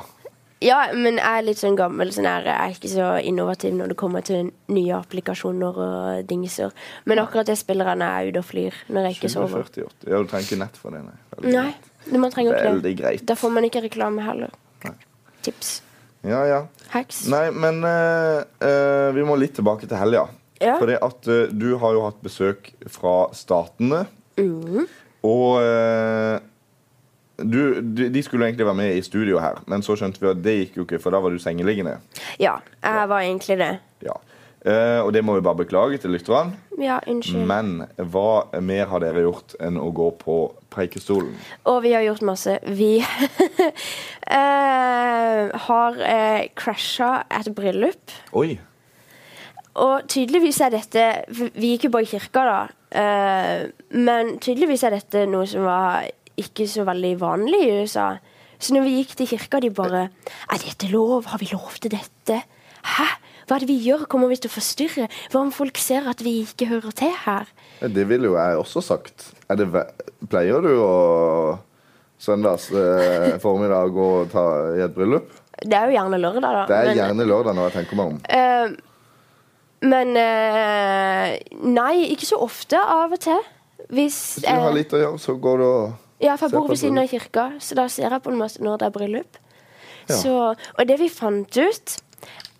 [SPEAKER 6] Ja, men jeg er litt sånn gammel, sånn her, jeg er ikke så innovativ når det kommer til nye applikasjoner og dingser. Men akkurat det spiller jeg når jeg er ute og flyr, når jeg ikke sover.
[SPEAKER 4] 2048. Ja, du trenger ikke nett for det, nei. Veldig
[SPEAKER 6] Nei, det- man trenger ikke
[SPEAKER 4] Veldig greit.
[SPEAKER 6] Da får man ikke reklame heller. Tips.
[SPEAKER 4] Ja, ja.
[SPEAKER 6] Hacks.
[SPEAKER 4] Nei, men eh, eh, vi må litt tilbake til helga.
[SPEAKER 6] Ja.
[SPEAKER 4] Fordi at eh, du har jo hatt besøk fra statene. Og eh, du, de de skulle egentlig være med i studio her, men så skjønte vi at det gikk jo ikke, for da var du sengeliggende.
[SPEAKER 6] Ja, jeg var egentlig det.
[SPEAKER 4] Ja. Eh, og det må vi bare beklage til lytterne.
[SPEAKER 6] Ja, unnskyld.
[SPEAKER 4] Men hva mer har dere gjort enn å gå på Preikestolen?
[SPEAKER 6] Og vi har gjort masse. Vi <laughs> eh, har eh, crasha et bryllup.
[SPEAKER 4] Oi!
[SPEAKER 6] Og tydeligvis er dette for Vi gikk jo bare i kirka, da. Eh, men tydeligvis er dette noe som var ikke så veldig vanlig i USA. Så når vi gikk til kirka, de bare Er dette lov? Har vi lov til dette? Hæ? Hva er det vi gjør? Kommer vi til å forstyrre? Hva om folk ser at vi ikke hører til her?
[SPEAKER 4] Det ville jo jeg også sagt. Er det, ve- pleier du å søndags eh, formiddag gå og ta i et bryllup?
[SPEAKER 6] Det er jo gjerne lørdag, da.
[SPEAKER 4] Det er
[SPEAKER 6] men-
[SPEAKER 4] gjerne lørdag når jeg tenker meg om.
[SPEAKER 6] Eh, men eh, Nei, ikke så ofte. Av og til. Hvis,
[SPEAKER 4] Hvis du har
[SPEAKER 6] eh,
[SPEAKER 4] litt å gjøre, så går du og
[SPEAKER 6] ja, for jeg
[SPEAKER 4] ser
[SPEAKER 6] bor
[SPEAKER 4] på
[SPEAKER 6] ved siden av
[SPEAKER 4] bryllup.
[SPEAKER 6] kirka, så da ser jeg på en måte når det er bryllup.
[SPEAKER 4] Ja.
[SPEAKER 6] Så, og det vi fant ut,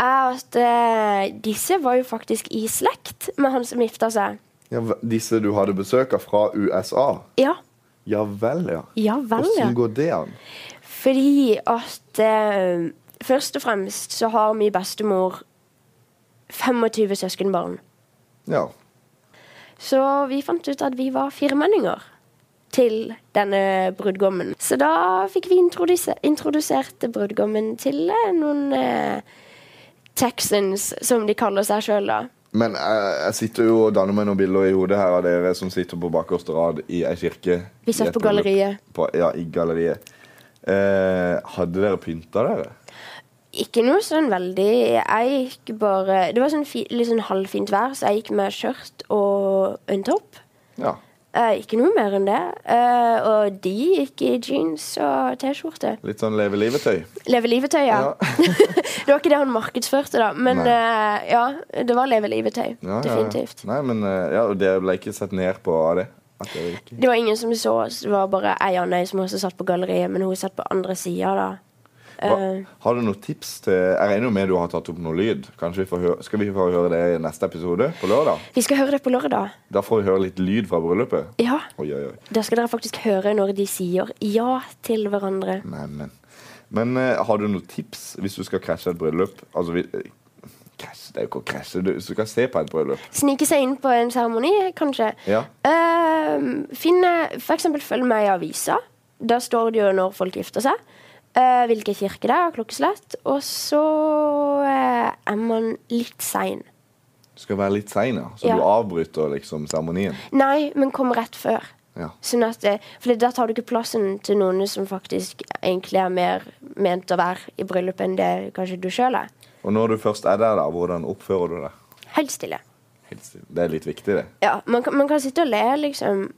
[SPEAKER 6] er at eh, disse var jo faktisk i slekt med han som gifta seg.
[SPEAKER 4] ja, v- Disse du hadde besøk av fra USA?
[SPEAKER 6] Ja,
[SPEAKER 4] Ja vel, ja.
[SPEAKER 6] ja vel, ja.
[SPEAKER 4] Åssen går det an?
[SPEAKER 6] Fordi at eh, først og fremst så har min bestemor 25 søskenbarn.
[SPEAKER 4] Ja.
[SPEAKER 6] Så vi fant ut at vi var firmenninger til denne brudgommen. Så da fikk vi introduse- introdusert brudgommen til eh, noen eh, Texans, som de kaller seg sjøl, da.
[SPEAKER 4] Men jeg, jeg sitter jo og danner meg noen bilder i hodet her av dere som sitter på bakerste rad i ei kirke.
[SPEAKER 6] Vi
[SPEAKER 4] I
[SPEAKER 6] satt
[SPEAKER 4] et
[SPEAKER 6] på
[SPEAKER 4] bryllup.
[SPEAKER 6] galleriet.
[SPEAKER 4] På, ja, i galleriet. Eh, hadde dere pynta dere?
[SPEAKER 6] Ikke noe sånn veldig Jeg gikk bare Det var sånn fi, litt sånn halvfint vær, så jeg gikk med skjørt og en topp.
[SPEAKER 4] Ja.
[SPEAKER 6] Eh, ikke noe mer enn det. Eh, og de gikk i jeans og T-skjorte.
[SPEAKER 4] Litt sånn leve livet-tøy?
[SPEAKER 6] Leve livet-tøy, ja.
[SPEAKER 4] Ja.
[SPEAKER 6] <laughs> det var ikke det han markedsførte, da. Men eh, ja, det var leve
[SPEAKER 4] Ja,
[SPEAKER 6] livet-tøy.
[SPEAKER 4] ja, ja.
[SPEAKER 6] Definitivt.
[SPEAKER 4] Nei, men eh, ja, og dere ble ikke sett ned på av det? At dere ikke...
[SPEAKER 6] Det var ingen som så oss, det var bare ei Annøy som også satt på galleriet, men hun satt på andre sida, da.
[SPEAKER 4] Hva,
[SPEAKER 6] Eh.
[SPEAKER 4] har du noen tips til Jeg regner jo med du har tatt opp noe lyd. Kanskje vi får høre, Skal vi få høre det i neste episode på lørdag?
[SPEAKER 6] Vi skal høre det på lørdag.
[SPEAKER 4] Da får vi høre litt lyd fra bryllupet.
[SPEAKER 6] Ja.
[SPEAKER 4] Oi, oi, oi.
[SPEAKER 6] Da skal dere faktisk høre når de sier ja til hverandre.
[SPEAKER 4] Nei, men Men eh, har du noen tips hvis du skal krasje et bryllup? Altså, vi, eh, krasje, det er jo ikke å krasje. Du, hvis du skal se på et bryllup.
[SPEAKER 6] Snike seg inn på en seremoni, kanskje.
[SPEAKER 4] Ja.
[SPEAKER 6] Ehm, finne For eksempel følg med i avisa. Da står det jo når folk gifter seg. eh, hvilken kirke det er, og klokkeslett. Og så eh, er man litt sein.
[SPEAKER 4] Du skal være litt sein, ja. Så
[SPEAKER 6] Ja.
[SPEAKER 4] du avbryter liksom seremonien.
[SPEAKER 6] Nei, men kom rett før.
[SPEAKER 4] Ja.
[SPEAKER 6] Sånn at, eh, fordi da tar du ikke plassen til noen som faktisk egentlig er mer ment å være i bryllupet enn det kanskje du sjøl er.
[SPEAKER 4] Og når du først er der, da, hvordan oppfører du deg?
[SPEAKER 6] Helt stille.
[SPEAKER 4] Helt stille. Det er litt viktig, det.
[SPEAKER 6] Ja, man kan, man kan sitte og le, liksom.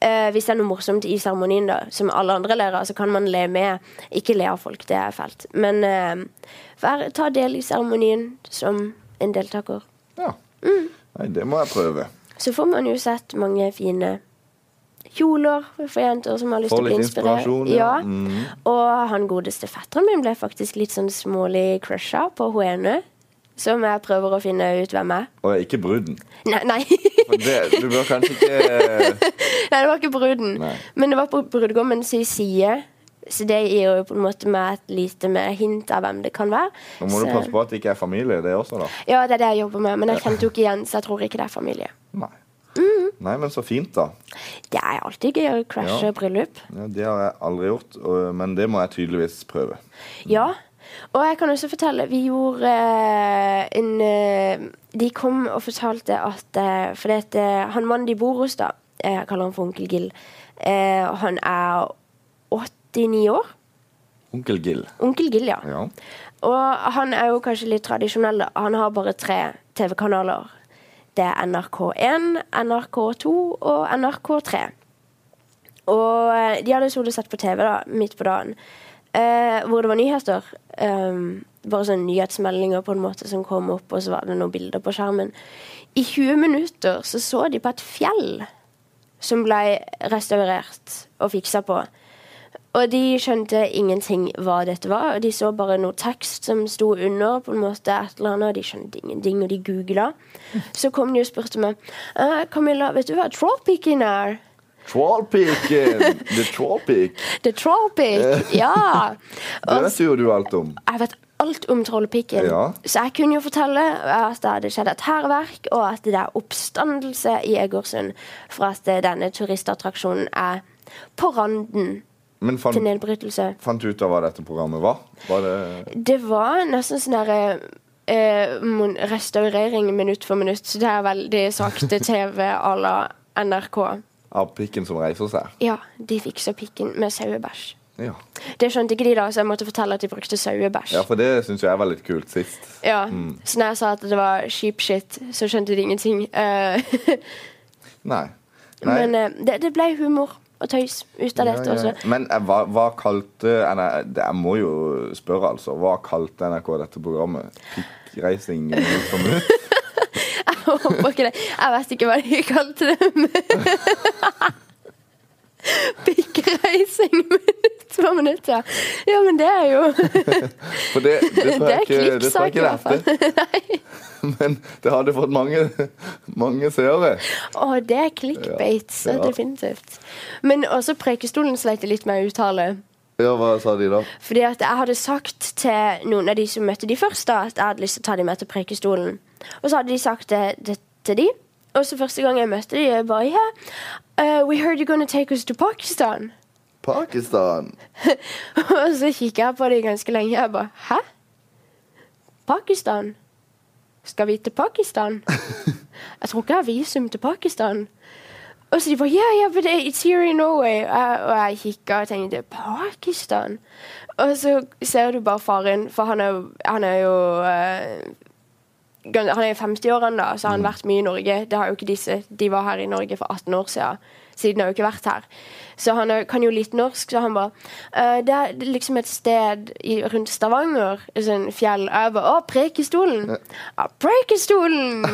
[SPEAKER 6] eh, hvis det er noe morsomt i seremonien, da, som alle andre ler av, så kan man le med. Ikke le av folk, det er fælt. Men eh, vær, ta del i seremonien som en deltaker.
[SPEAKER 4] Ja. Nei, det må jeg prøve.
[SPEAKER 6] Så får man jo sett mange fine kjoler for jenter som har lyst
[SPEAKER 4] Får
[SPEAKER 6] til å bli
[SPEAKER 4] litt
[SPEAKER 6] inspirert.
[SPEAKER 4] inspirasjon,
[SPEAKER 6] ja.
[SPEAKER 4] ja. Mhm.
[SPEAKER 6] Og han godeste fetteren min ble faktisk litt sånn smålig crusha på hun ene. Som jeg prøver å finne ut hvem er.
[SPEAKER 4] Og jeg er ikke bruden.
[SPEAKER 6] Nei, nei. <laughs>
[SPEAKER 4] For Det, du bør kanskje ikke
[SPEAKER 6] Nei, det var ikke bruden.
[SPEAKER 4] Nei.
[SPEAKER 6] Men det var på brudgommen sin side. Så det gir jo på en måte meg et lite mer hint av hvem det kan være.
[SPEAKER 4] Nå
[SPEAKER 6] <laughs>
[SPEAKER 4] må du
[SPEAKER 6] Så-
[SPEAKER 4] passe på at det ikke er familie, det også, da.
[SPEAKER 6] Ja, det er det jeg jobber med, men jeg kjente jo ikke igjen, så jeg tror ikke det er familie.
[SPEAKER 4] Nei. Nei, men så fint, da.
[SPEAKER 6] Det er alltid gøy å crashe
[SPEAKER 4] Ja.
[SPEAKER 6] bryllup.
[SPEAKER 4] Ja, det har jeg aldri gjort, og- men det må jeg tydeligvis prøve.
[SPEAKER 6] Ja. Og jeg kan også fortelle Vi gjorde eh, en eh, De kom og fortalte at eh, For det at, eh, han mannen de bor hos, da eh, Jeg kaller han for onkel Gill. Eh, og han er 89 år.
[SPEAKER 4] Onkel Gill.
[SPEAKER 6] Onkel Gill, ja.
[SPEAKER 4] Ja.
[SPEAKER 6] Og han er jo kanskje litt tradisjonell. da. Han har bare tre TV-kanaler. Det er NRK1, NRK2 og NRK3. Og eh, de hadde sittet og sett på TV da, midt på dagen, eh, hvor det var nyheter. Um, bare sånne nyhetsmeldinger på en måte som kom opp, og så var det noen bilder på skjermen. I 20 minutter så så de på et fjell som ble restaurert og fiksa på. Og de skjønte ingenting hva dette var. og De så bare noe tekst som sto under, på en måte et eller annet, og de skjønte ingenting, og de googla. Så kom de og spurte meg «Eh, Camilla, vet du hva trollpiken er?
[SPEAKER 4] Trollpiken! The Trollpik.
[SPEAKER 6] The trollpik! Ja!
[SPEAKER 4] <laughs> Det
[SPEAKER 6] Og
[SPEAKER 4] vet jo du alt om.
[SPEAKER 6] jeg vet alt om trollpikken.
[SPEAKER 4] Ja.
[SPEAKER 6] Så jeg kunne jo fortelle at det hadde skjedd et hærverk, og at det er oppstandelse i Egersund for at denne turistattraksjonen er på randen
[SPEAKER 4] Men
[SPEAKER 6] til
[SPEAKER 4] fant,
[SPEAKER 6] nedbrytelse.
[SPEAKER 4] fant du ut av hva dette programmet var? Var det
[SPEAKER 6] Det var nesten sånn derre eh, mon- restaurering minutt for minutt. Så det er veldig sakte TV à la NRK.
[SPEAKER 4] av pikken som reiser seg?
[SPEAKER 6] Ja, de fiksa pikken med sauebæsj.
[SPEAKER 4] Ja,
[SPEAKER 6] Det skjønte ikke de, da, så jeg måtte fortelle at de brukte sauebæsj.
[SPEAKER 4] ja Mm.
[SPEAKER 6] Ja.
[SPEAKER 4] for det syns jeg var litt kult sist.
[SPEAKER 6] Så når jeg sa at det var sheep shit, så skjønte de ingenting. Eh, <laughs>
[SPEAKER 4] Nei. Nei.
[SPEAKER 6] Men eh, det, det ble humor og tøys ut av
[SPEAKER 4] Ja,
[SPEAKER 6] dette
[SPEAKER 4] ja, ja.
[SPEAKER 6] også.
[SPEAKER 4] Men eh, hva, hva kalte nei, det- Jeg må jo spørre, altså. Hva kalte NRK dette programmet? Pikkreising? minutt for minutt?
[SPEAKER 6] Jeg håper ikke det. Jeg vet ikke hva de kalte det. men- Pikkreising minutt for minutt, ja. Ja, men det er jo
[SPEAKER 4] For det,
[SPEAKER 6] <laughs>
[SPEAKER 4] det tror
[SPEAKER 6] Det
[SPEAKER 4] jeg
[SPEAKER 6] er
[SPEAKER 4] ikke det tror jeg
[SPEAKER 6] klippsak i
[SPEAKER 4] ikke
[SPEAKER 6] hvert fall.
[SPEAKER 4] det
[SPEAKER 6] <laughs>
[SPEAKER 4] heter. <laughs> Men det hadde fått mange, mange seere.
[SPEAKER 6] Å, det er clickbait, så
[SPEAKER 4] Ja.
[SPEAKER 6] definitivt. Men også Preikestolen sleit jeg litt med å uttale.
[SPEAKER 4] Ja, hva sa de da?
[SPEAKER 6] Fordi at jeg hadde sagt til noen av de som møtte de først, da, at jeg hadde lyst til å ta dem med til Preikestolen. Og så hadde de sagt det, det til de. Og så første gang jeg møtte de, jeg bare yeah, uh, We heard you're gonna take us to Pakistan. <laughs>
[SPEAKER 4] Pakistan.
[SPEAKER 6] og så kikket jeg på de ganske lenge, jeg bare Hæ? Pakistan? Skal vi til Pakistan? jeg tror ikke jeg har visum til Pakistan. Og så de bare Yeah, yeah, but it's here in Norway. Og- Og jeg kikket og tenkte Pakistan? Og så ser du bare faren, for han er, jo- han er jo eh, gans- Han er i 50-årene, da, så har han vært mye i Norge. Det har jo ikke disse. De var her i Norge for 18 år siden. Siden har jo ikke vært her. Så han er, kan jo litt norsk, så han bare eh, Det er liksom et sted i, rundt Stavanger, et sånt fjell. Og jeg bare Å, Preikestolen! Ja, <laughs> Preikestolen!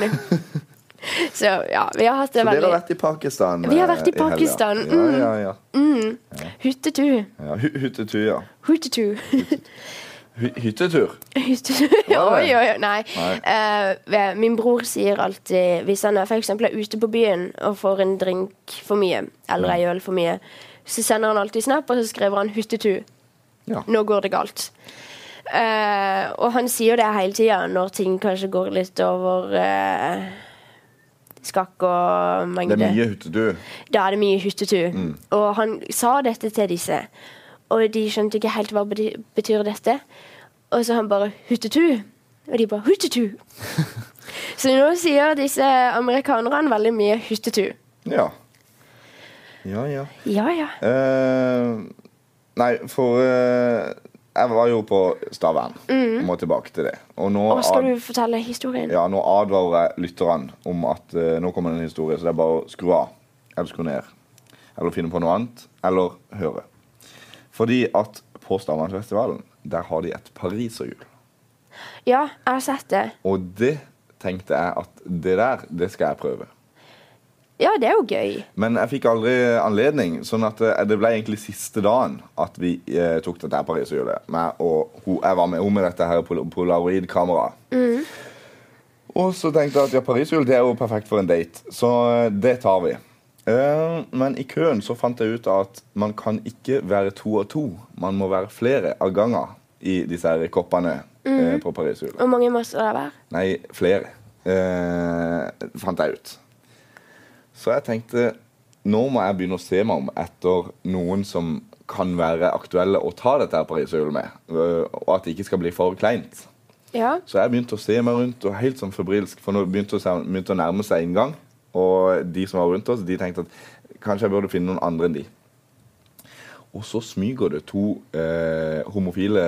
[SPEAKER 6] så ja, vi har hatt
[SPEAKER 4] Så
[SPEAKER 6] det
[SPEAKER 4] dere
[SPEAKER 6] veldig
[SPEAKER 4] har vært i Pakistan?
[SPEAKER 6] Vi har
[SPEAKER 4] eh,
[SPEAKER 6] vært i
[SPEAKER 4] helga.
[SPEAKER 6] Pakistan, mm.
[SPEAKER 4] Ja, ja, ja.
[SPEAKER 6] Hyttetu.
[SPEAKER 4] ja hy- hyttetur, ja.
[SPEAKER 6] Hyttetu. <laughs>
[SPEAKER 4] Hy- hyttetur?
[SPEAKER 6] Hyttetu.
[SPEAKER 4] Var det?
[SPEAKER 6] oi, oi, oi, nei.
[SPEAKER 4] Nei.
[SPEAKER 6] Eh, ve- min bror sier alltid, hvis han er for eksempel er ute på byen og får en drink for mye, eller ei øl for mye, så sender han alltid snap, og så skriver han 'hyttetu'.
[SPEAKER 4] Ja.
[SPEAKER 6] Nå går det galt. Eh, og han sier det hele tida når ting kanskje går litt over eh, skakk og
[SPEAKER 4] Det
[SPEAKER 6] mengde.
[SPEAKER 4] er mye hyttetur.
[SPEAKER 6] Da er det mye hyttetur. Og han sa dette til disse, og de skjønte ikke helt hva bety- betyr dette. Og så han bare 'hyttetu', og de bare 'hyttetu'. så nå sier disse amerikanerne veldig mye 'hyttetu'.
[SPEAKER 4] Ja. Ja, ja.
[SPEAKER 6] Ja, ja.
[SPEAKER 4] Eh, nei, for eh, jeg var jo på Stavern. og Må tilbake til det. Og nå
[SPEAKER 6] Og Mm. skal
[SPEAKER 4] ad-
[SPEAKER 6] du fortelle historien?
[SPEAKER 4] Ja, nå advarer jeg lytterne om at eh, nå kommer det en historie, så det er bare å skru av. Eller skru ned. eller finne på noe annet, eller høre. Fordi at på Stavangerfestivalen, der har de et pariserhjul.
[SPEAKER 6] Ja, jeg har sett det.
[SPEAKER 4] Og det tenkte jeg at det der, det skal jeg prøve.
[SPEAKER 6] Ja, det er jo gøy.
[SPEAKER 4] Men jeg fikk aldri anledning, sånn at eh, det ble egentlig siste dagen at vi eh, tok dette her pariserhjulet. meg Og hun, jeg var med henne med dette her pol- polaroid-kameraet. Og så tenkte jeg at ja, pariserhjul det er jo perfekt for en date, så eh, det tar vi. Eh, men i køen så fant jeg ut at man kan ikke være to og to. Man må være flere av gangen i disse her koppene eh, på pariserhjulet.
[SPEAKER 6] Hvor mange må det være?
[SPEAKER 4] Nei, flere. Eh, fant jeg ut. Så jeg tenkte nå må jeg begynne å se meg om etter noen som kan være aktuelle å ta dette her pariserhjulet med. eh, Og at det ikke skal bli for kleint.
[SPEAKER 6] Ja.
[SPEAKER 4] Så jeg begynte å se meg rundt, og helt sånn febrilsk, for nå begynte å, se, begynte å nærme seg inngang. Og de som var rundt oss, de tenkte at kanskje jeg burde finne noen andre enn de. Og så smyger det to eh, homofile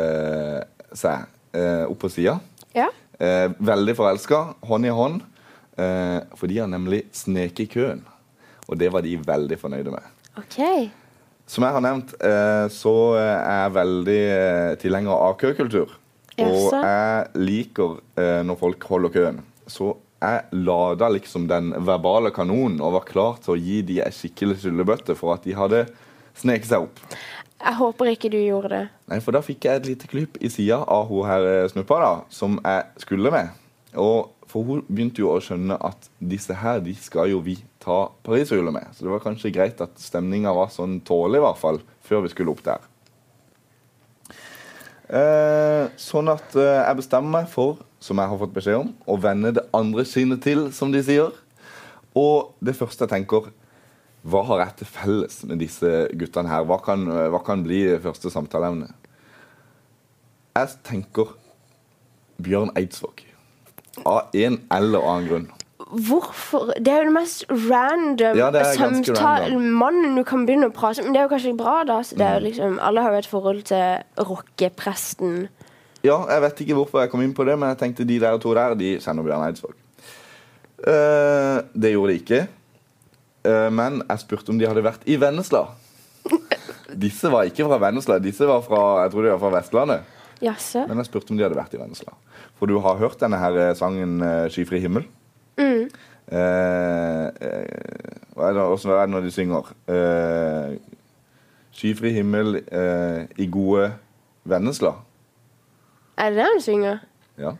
[SPEAKER 4] seg eh, opp på sida.
[SPEAKER 6] ja.
[SPEAKER 4] Eh, veldig forelska, hånd i hånd. Eh, for de har nemlig sneket i køen. Og det var de veldig fornøyde med.
[SPEAKER 6] OK.
[SPEAKER 4] Som jeg har nevnt, eh, så er jeg veldig eh, tilhenger av køkultur. Og
[SPEAKER 6] Jaså?
[SPEAKER 4] jeg liker eh, når folk holder køen. Så jeg lada liksom den verbale kanonen og var klar til å gi de ei skikkelig skyllebøtte for at de hadde sneket seg opp.
[SPEAKER 6] Jeg håper ikke du gjorde det.
[SPEAKER 4] Nei, for da fikk jeg et lite klyp i sida av hun her eh, snuppa, da, som jeg skulle med. Og For hun begynte jo å skjønne at disse her, de skal jo vi ta pariserhjulet med. Så det var kanskje greit at stemninga var sånn tålelig, i hvert fall, før vi skulle opp der. Eh, sånn at eh, jeg bestemmer meg for, som jeg har fått beskjed om, å vende det andre kinnet til, som de sier. Og det første jeg tenker hva har jeg til felles med disse guttene her? Hva kan, eh, hva kan bli det første samtaleemne? Jeg tenker Bjørn Eidsvåg. Av en eller annen grunn.
[SPEAKER 6] Hvorfor? Det er jo den mest random
[SPEAKER 4] Ja, det er ganske
[SPEAKER 6] samtale
[SPEAKER 4] random. Mm.
[SPEAKER 6] mannen du kan begynne å prate med. Men det er jo kanskje bra, da. Så det er jo liksom, alle har jo et forhold til rockepresten.
[SPEAKER 4] Ja, jeg vet ikke hvorfor jeg kom inn på det, men jeg tenkte de der to der, de kjenner Bjørn Eidsvåg. Eh, det gjorde de ikke. Eh, men jeg spurte om de hadde vært i Vennesla. Disse var ikke fra Vennesla, disse var fra, jeg tror de var fra Vestlandet.
[SPEAKER 6] Jaså?
[SPEAKER 4] Men jeg spurte om de hadde vært i Vennesla. For du har hørt denne her eh, sangen eh, 'Skyfri himmel'?
[SPEAKER 6] Mm.
[SPEAKER 4] Eh, eh, hva er det, hvordan er det når de synger? Eh, 'Skyfri himmel eh, i gode Vennesla'.
[SPEAKER 6] Er det det han synger?
[SPEAKER 4] Ja.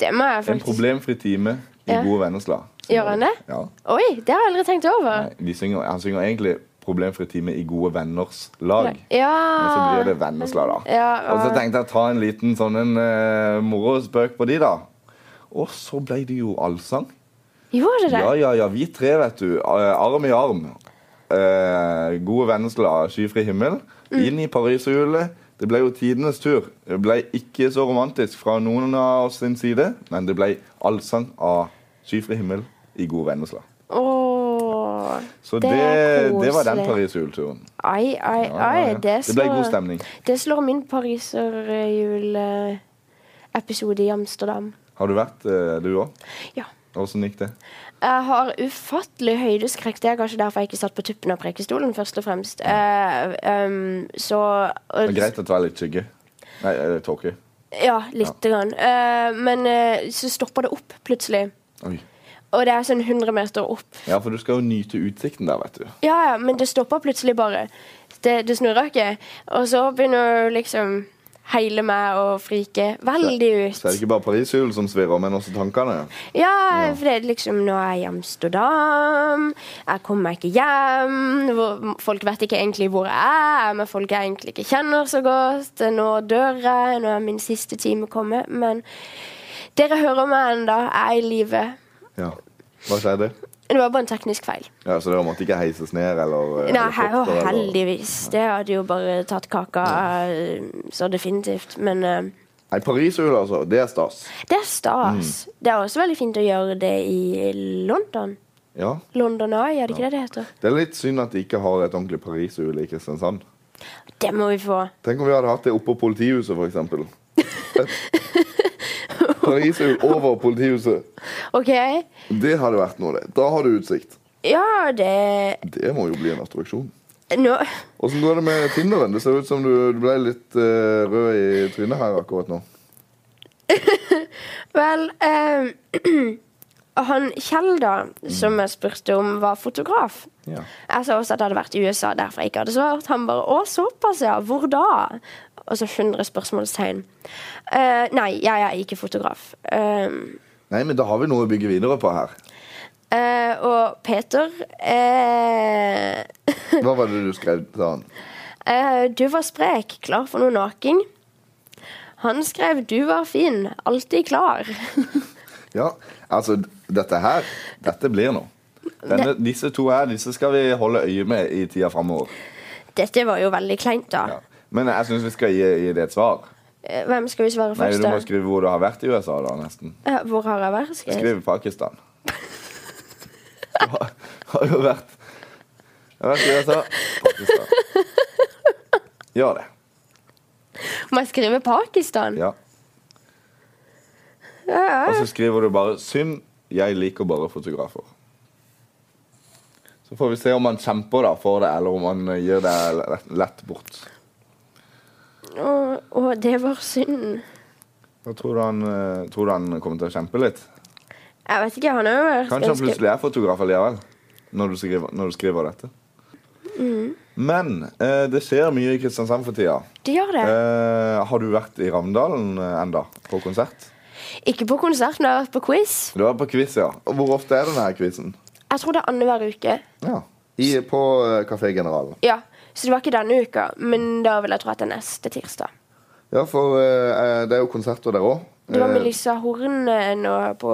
[SPEAKER 6] Det må jeg
[SPEAKER 4] En
[SPEAKER 6] faktisk
[SPEAKER 4] problemfri time i
[SPEAKER 6] Ja.
[SPEAKER 4] gode Vennesla.
[SPEAKER 6] Gjør han det?
[SPEAKER 4] Ja.
[SPEAKER 6] Oi, det har jeg aldri tenkt over.
[SPEAKER 4] Nei, de synger, han synger egentlig 'Problemfri time i gode venners lag'.
[SPEAKER 6] Ja.
[SPEAKER 4] Men så blir det Vennesla, da.
[SPEAKER 6] Ah. Ja,
[SPEAKER 4] Og så
[SPEAKER 6] ja.
[SPEAKER 4] tenkte jeg å ta en liten sånn en eh, morospøk på de, da. Og så ble det jo allsang.
[SPEAKER 6] Gjorde det det?
[SPEAKER 4] Ja, ja, ja, vi tre, vet du. eh, Arm i arm. Eh, gode Vennesla, skyfri himmel.
[SPEAKER 6] Mm.
[SPEAKER 4] Inn i pariserhjulet. Det ble jo tidenes tur. Det ble ikke så romantisk fra noen av oss sin side, men det ble allsang av skyfri himmel i gode Vennesla.
[SPEAKER 6] Åh.
[SPEAKER 4] Så
[SPEAKER 6] Det
[SPEAKER 4] det,
[SPEAKER 6] er
[SPEAKER 4] det var den
[SPEAKER 6] koselig.
[SPEAKER 4] pariserhjulturen.
[SPEAKER 6] Ai, ai,
[SPEAKER 4] Ja, ja,
[SPEAKER 6] ai.
[SPEAKER 4] ja.
[SPEAKER 6] Det,
[SPEAKER 4] Det ble
[SPEAKER 6] slår-
[SPEAKER 4] god stemning.
[SPEAKER 6] Det slår min pariserjuleepisode i Amsterdam.
[SPEAKER 4] Har du vært, eh, du òg?
[SPEAKER 6] Ja.
[SPEAKER 4] Åssen gikk det?
[SPEAKER 6] Jeg har ufattelig høydeskrekk. Det er kanskje derfor jeg ikke satt på tuppen av prekestolen, først og fremst. Eh, ehm, så
[SPEAKER 4] Det er greit at det var litt skygge. Nei, eh, tåke.
[SPEAKER 6] Ja, lite grann. Eh, men eh, så stopper det opp plutselig.
[SPEAKER 4] Oi.
[SPEAKER 6] Og det er sånn 100 meter opp.
[SPEAKER 4] Ja, for du skal jo nyte utsikten der, vet du.
[SPEAKER 6] Ja, ja, men det stopper plutselig bare. Det, det snurrer ikke. Og så begynner jo liksom hele meg å frike veldig ut.
[SPEAKER 4] Så er det ikke bare pariserhjulet som svirrer, men også tankene.
[SPEAKER 6] Ja, for det er liksom Nå er jeg i Amsterdam. Jeg kommer meg ikke hjem. Hvor, folk vet ikke egentlig hvor jeg er, men folk jeg egentlig ikke kjenner så godt. Nå dør jeg. Nå er min siste time kommet. Men dere hører meg ennå. Jeg er i live.
[SPEAKER 4] Ja. Hva skjedde?
[SPEAKER 6] Det var bare en teknisk feil.
[SPEAKER 4] Ja, så det måtte ikke heises ned eller eh,
[SPEAKER 6] Nei, her,
[SPEAKER 4] helikopter, eller-
[SPEAKER 6] heldigvis. Det hadde jo bare tatt kaka eh, så definitivt. Men eh,
[SPEAKER 4] Nei, pariserhjul, altså. Det er stas.
[SPEAKER 6] det er stas. Det er også veldig fint å gjøre det i London.
[SPEAKER 4] Ja.
[SPEAKER 6] London Eye, er det ikke det det heter?
[SPEAKER 4] Det er litt synd at de ikke har et ordentlig pariserhjul i Kristiansand.
[SPEAKER 6] Det må vi få.
[SPEAKER 4] Tenk om vi hadde hatt det oppå politihuset, for
[SPEAKER 6] <laughs>
[SPEAKER 4] eksempel. Et pariserhjul over politihuset.
[SPEAKER 6] OK.
[SPEAKER 4] Det hadde vært noe, det. Da har du utsikt.
[SPEAKER 6] Ja, det
[SPEAKER 4] Det må jo bli en attraksjon.
[SPEAKER 6] Nå
[SPEAKER 4] Åssen går det med Tinderen? Det ser ut som du, du ble litt eh, rød i trynet her akkurat nå.
[SPEAKER 6] Vel eh, <clears throat> Han Kjell, da, som jeg spurte om var fotograf
[SPEAKER 4] Ja.
[SPEAKER 6] Jeg sa også at det hadde vært i USA, derfor jeg ikke hadde svart. Han bare 'Å, såpass, ja. Hvor da?' Og så 100 spørsmålstegn. Eh, nei, jeg er ikke fotograf. Um,
[SPEAKER 4] Nei, men da har vi noe å bygge videre på her.
[SPEAKER 6] eh, og Peter eh,
[SPEAKER 4] Hva var det du skrev til han?
[SPEAKER 6] eh, Du var sprek, klar for noe naking. Han skrev 'Du var fin, alltid klar'.
[SPEAKER 4] Ja, altså, d- dette her Dette blir noe. Denne, disse to her disse skal vi holde øye med i tida framover.
[SPEAKER 6] Dette var jo veldig kleint, da.
[SPEAKER 4] Ja. Men jeg syns vi skal gi, gi det et svar.
[SPEAKER 6] Eh, Hvem skal vi svare
[SPEAKER 4] Nei,
[SPEAKER 6] først,
[SPEAKER 4] Du må
[SPEAKER 6] da?
[SPEAKER 4] skrive hvor du har vært i USA, da, nesten.
[SPEAKER 6] Eh, Hvor har jeg vært? Skal jeg-
[SPEAKER 4] Skriv Pakistan. <laughs> Du har, har jo vært Jeg har vært i USA. Pakistan. Gjør det.
[SPEAKER 6] Må jeg skrive Pakistan?
[SPEAKER 4] Ja. Og så skriver du bare 'Synd, jeg liker bare fotografer'. Så får vi se om han kjemper da for det, eller om han eh, gir det lett- lett bort.
[SPEAKER 6] Å, å, det var synd.
[SPEAKER 4] Da tror du han, eh, tror du han kommer til å kjempe litt?
[SPEAKER 6] Jeg vet ikke, han har jo vært
[SPEAKER 4] Kanskje han
[SPEAKER 6] ganske-
[SPEAKER 4] plutselig er fotograf allikevel. Når du skriver, når du skriver dette. Men eh, det skjer mye i Kristiansand for tida.
[SPEAKER 6] De gjør det.
[SPEAKER 4] Eh, har du vært i Ravndalen eh, enda? På konsert?
[SPEAKER 6] Ikke på konsert, men jeg har vært på quiz.
[SPEAKER 4] Du var på quiz, ja. Og Hvor ofte er denne her quizen?
[SPEAKER 6] Jeg tror det er annenhver uke.
[SPEAKER 4] Ja. I, på eh, Kafé General.
[SPEAKER 6] Ja, Så det var ikke denne uka, men da vil jeg tro at det er neste tirsdag.
[SPEAKER 4] Ja, for eh, det er jo konserter der Eh, òg.
[SPEAKER 6] Det var Melissa Horn eh, nå på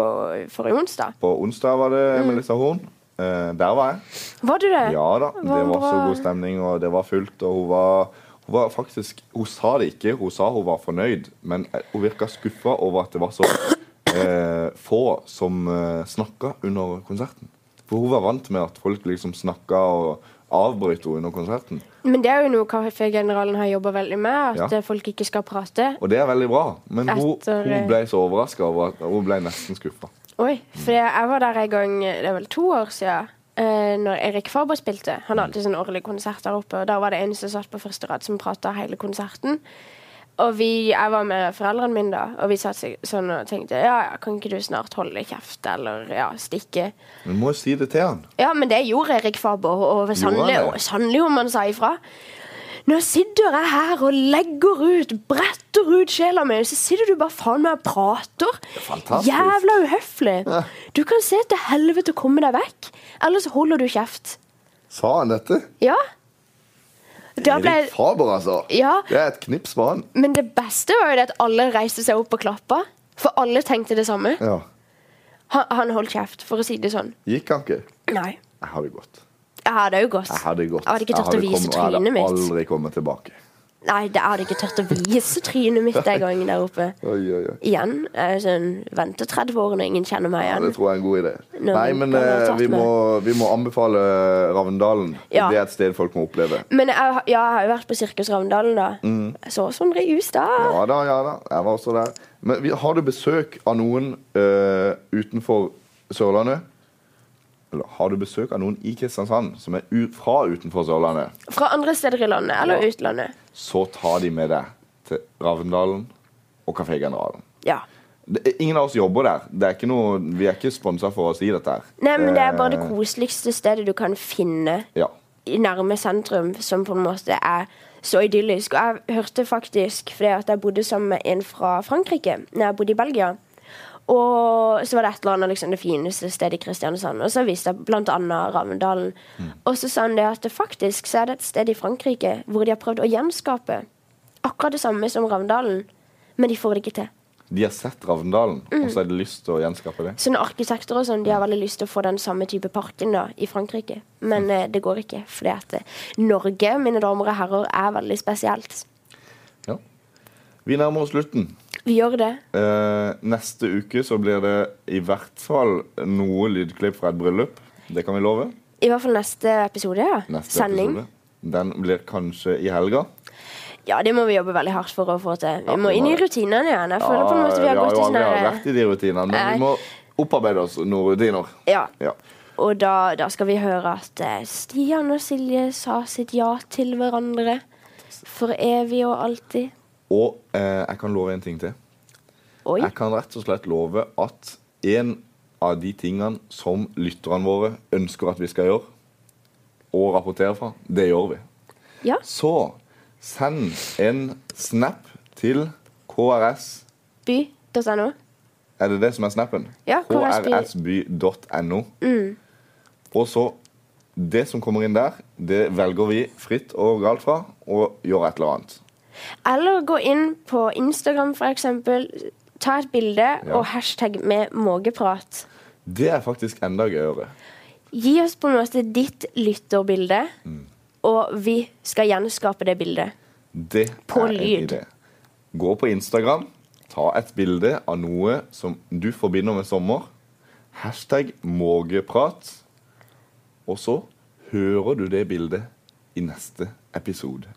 [SPEAKER 6] forrige onsdag.
[SPEAKER 4] på onsdag var det Melissa Horn. Eh, der var jeg.
[SPEAKER 6] Var du det?
[SPEAKER 4] Ja da.
[SPEAKER 6] Var
[SPEAKER 4] Det var så
[SPEAKER 6] bra.
[SPEAKER 4] god stemning, og det var fullt. Og hun var, hun var faktisk Hun sa det ikke, hun sa hun var fornøyd, men eh, hun virka skuffa over at det var så eh, få som eh, snakka under konserten. For hun var vant med at folk liksom snakka og avbrøt henne under konserten.
[SPEAKER 6] Men det er jo noe Kafégeneralen har jobba veldig med, at
[SPEAKER 4] Ja.
[SPEAKER 6] eh, folk ikke skal prate.
[SPEAKER 4] Og det er veldig bra, men hun,
[SPEAKER 6] Etter-
[SPEAKER 4] hun ble så overraska over at hun ble nesten skuffa.
[SPEAKER 6] Oi, for jeg var der en gang, det er vel to år siden, eh, når Erik Faber spilte. Han har alltid sånn årlig konsert der oppe, og da var det en som satt på første rad som prata hele konserten. Og vi, jeg var med foreldrene mine da, og vi satt seg sånn og tenkte ja, ja, kan ikke du snart holde kjeft, eller ja, stikke.
[SPEAKER 4] Men du må jo si det til han.
[SPEAKER 6] Ja, men det gjorde Erik Faber, og sannelig,
[SPEAKER 4] han det?
[SPEAKER 6] og sannelig om han sa ifra. Nå sitter jeg her og legger ut, bretter ut sjela mi, så sitter du bare faen meg og prater.
[SPEAKER 4] Fantastisk.
[SPEAKER 6] Jævla uhøflig. Du kan se til helvete og komme deg vekk, ellers holder du kjeft.
[SPEAKER 4] Sa han dette?
[SPEAKER 6] Ja. Da ble,
[SPEAKER 4] Erik Faber, altså.
[SPEAKER 6] Ja.
[SPEAKER 4] Det er et knips med han.
[SPEAKER 6] men det beste var jo det at alle reiste seg opp og klappa. For alle tenkte det samme.
[SPEAKER 4] Ja.
[SPEAKER 6] Han, han holdt kjeft, for å si det sånn.
[SPEAKER 4] Gikk han ikke?
[SPEAKER 6] Nei.
[SPEAKER 4] Jeg har det godt.
[SPEAKER 6] Jeg hadde jo gått.
[SPEAKER 4] Jeg hadde gått.
[SPEAKER 6] hadde ikke turt å vise
[SPEAKER 4] kommet- jeg hadde
[SPEAKER 6] trynet mitt.
[SPEAKER 4] aldri kommet tilbake.
[SPEAKER 6] Nei, det hadde ikke tørt å vise trynet mitt den gangen der oppe.
[SPEAKER 4] Oi, oi, oi.
[SPEAKER 6] Igjen. eh, Sånn, vente 30 år når ingen kjenner meg
[SPEAKER 4] Ja, det
[SPEAKER 6] igjen.
[SPEAKER 4] tror jeg er en god idé.
[SPEAKER 6] Nå
[SPEAKER 4] Nei, men
[SPEAKER 6] kan
[SPEAKER 4] eh,
[SPEAKER 6] jeg ha tatt
[SPEAKER 4] vi, må, vi må anbefale Ravndalen.
[SPEAKER 6] Ja.
[SPEAKER 4] Det er et sted folk må oppleve.
[SPEAKER 6] Men jeg, har- ja, jeg har jo vært på Sirkus Ravndalen, da. Jeg så sånn Sondre Jus da.
[SPEAKER 4] Mm. Ja da, ja da. Jeg var også der. Men vi, har du besøk av noen eh, utenfor Sørlandet? Eller har du besøk av noen i Kristiansand som er u fra utenfor Sørlandet,
[SPEAKER 6] Fra andre steder i landet, eller
[SPEAKER 4] Ja.
[SPEAKER 6] utlandet.
[SPEAKER 4] så ta de med deg til Ravndalen og Kafé Generalen.
[SPEAKER 6] Ja.
[SPEAKER 4] Det- Ingen av oss jobber der. Det er ikke noe, vi er ikke sponsa for å si dette. her.
[SPEAKER 6] Nei, men det er bare det
[SPEAKER 4] Eh,
[SPEAKER 6] koseligste stedet du kan finne
[SPEAKER 4] Ja.
[SPEAKER 6] i nærme sentrum, som på en måte er så idyllisk. Og jeg hørte faktisk, fordi at jeg bodde sammen med en fra Frankrike, når jeg bodde i Belgia, og så var det et eller annet liksom, det fineste stedet i Kristiansand. Og så viste jeg blant annet Ravndalen. Og så sa han det at det faktisk så er det et sted i Frankrike hvor de har prøvd å gjenskape akkurat det samme som Ravndalen, men de får det ikke til.
[SPEAKER 4] De har sett Ravndalen,
[SPEAKER 6] Mm.
[SPEAKER 4] og så har de lyst til å gjenskape det.
[SPEAKER 6] Så når arkitekter og sånn, de har veldig lyst til å få den samme type parken da, i Frankrike. Men eh, det går ikke, fordi at eh, Norge, mine damer og herrer, er veldig spesielt.
[SPEAKER 4] Ja. Vi nærmer oss slutten.
[SPEAKER 6] Vi gjør det.
[SPEAKER 4] Eh, neste uke så blir det i hvert fall noe lydklipp fra et bryllup. Det kan vi love.
[SPEAKER 6] I hvert fall neste episode, ja.
[SPEAKER 4] Neste
[SPEAKER 6] Sending.
[SPEAKER 4] episode. Den blir kanskje i helga.
[SPEAKER 6] Ja, det må vi jobbe veldig hardt for å få til. Vi
[SPEAKER 4] Ja,
[SPEAKER 6] må
[SPEAKER 4] vi
[SPEAKER 6] inn
[SPEAKER 4] må
[SPEAKER 6] i
[SPEAKER 4] det.
[SPEAKER 6] rutinene igjen. Jeg føler på en måte vi
[SPEAKER 4] Ja,
[SPEAKER 6] har gått
[SPEAKER 4] jo
[SPEAKER 6] i sånn
[SPEAKER 4] aldri
[SPEAKER 6] her
[SPEAKER 4] vært i de rutinene, men vi må opparbeide oss noen rutiner.
[SPEAKER 6] eh, Ja.
[SPEAKER 4] Ja.
[SPEAKER 6] Og da, da skal vi høre at eh, Stian og Silje sa sitt ja til hverandre. For evig og alltid.
[SPEAKER 4] Og eh, jeg kan love en ting til.
[SPEAKER 6] Oi.
[SPEAKER 4] Jeg kan rett og slett love at en av de tingene som lytterne våre ønsker at vi skal gjøre, og rapportere fra, det gjør vi.
[SPEAKER 6] Ja.
[SPEAKER 4] Så send en snap til KRS.
[SPEAKER 6] By.no.
[SPEAKER 4] Er det det som er snappen?
[SPEAKER 6] Ja,
[SPEAKER 4] krsby.no.
[SPEAKER 6] Mm.
[SPEAKER 4] Og så Det som kommer inn der, det velger vi fritt og galt fra, og gjør et eller annet.
[SPEAKER 6] Eller gå inn på Instagram, f.eks. Ta et bilde
[SPEAKER 4] Ja.
[SPEAKER 6] og hashtag med mågeprat.
[SPEAKER 4] Det er faktisk enda gøyere.
[SPEAKER 6] Gi oss på en måte ditt lytterbilde, og vi skal gjenskape det bildet.
[SPEAKER 4] Det
[SPEAKER 6] På
[SPEAKER 4] er en
[SPEAKER 6] lyd.
[SPEAKER 4] idé. Gå på Instagram, ta et bilde av noe som du forbinder med sommer. Hashtag mågeprat. Og så hører du det bildet i neste episode.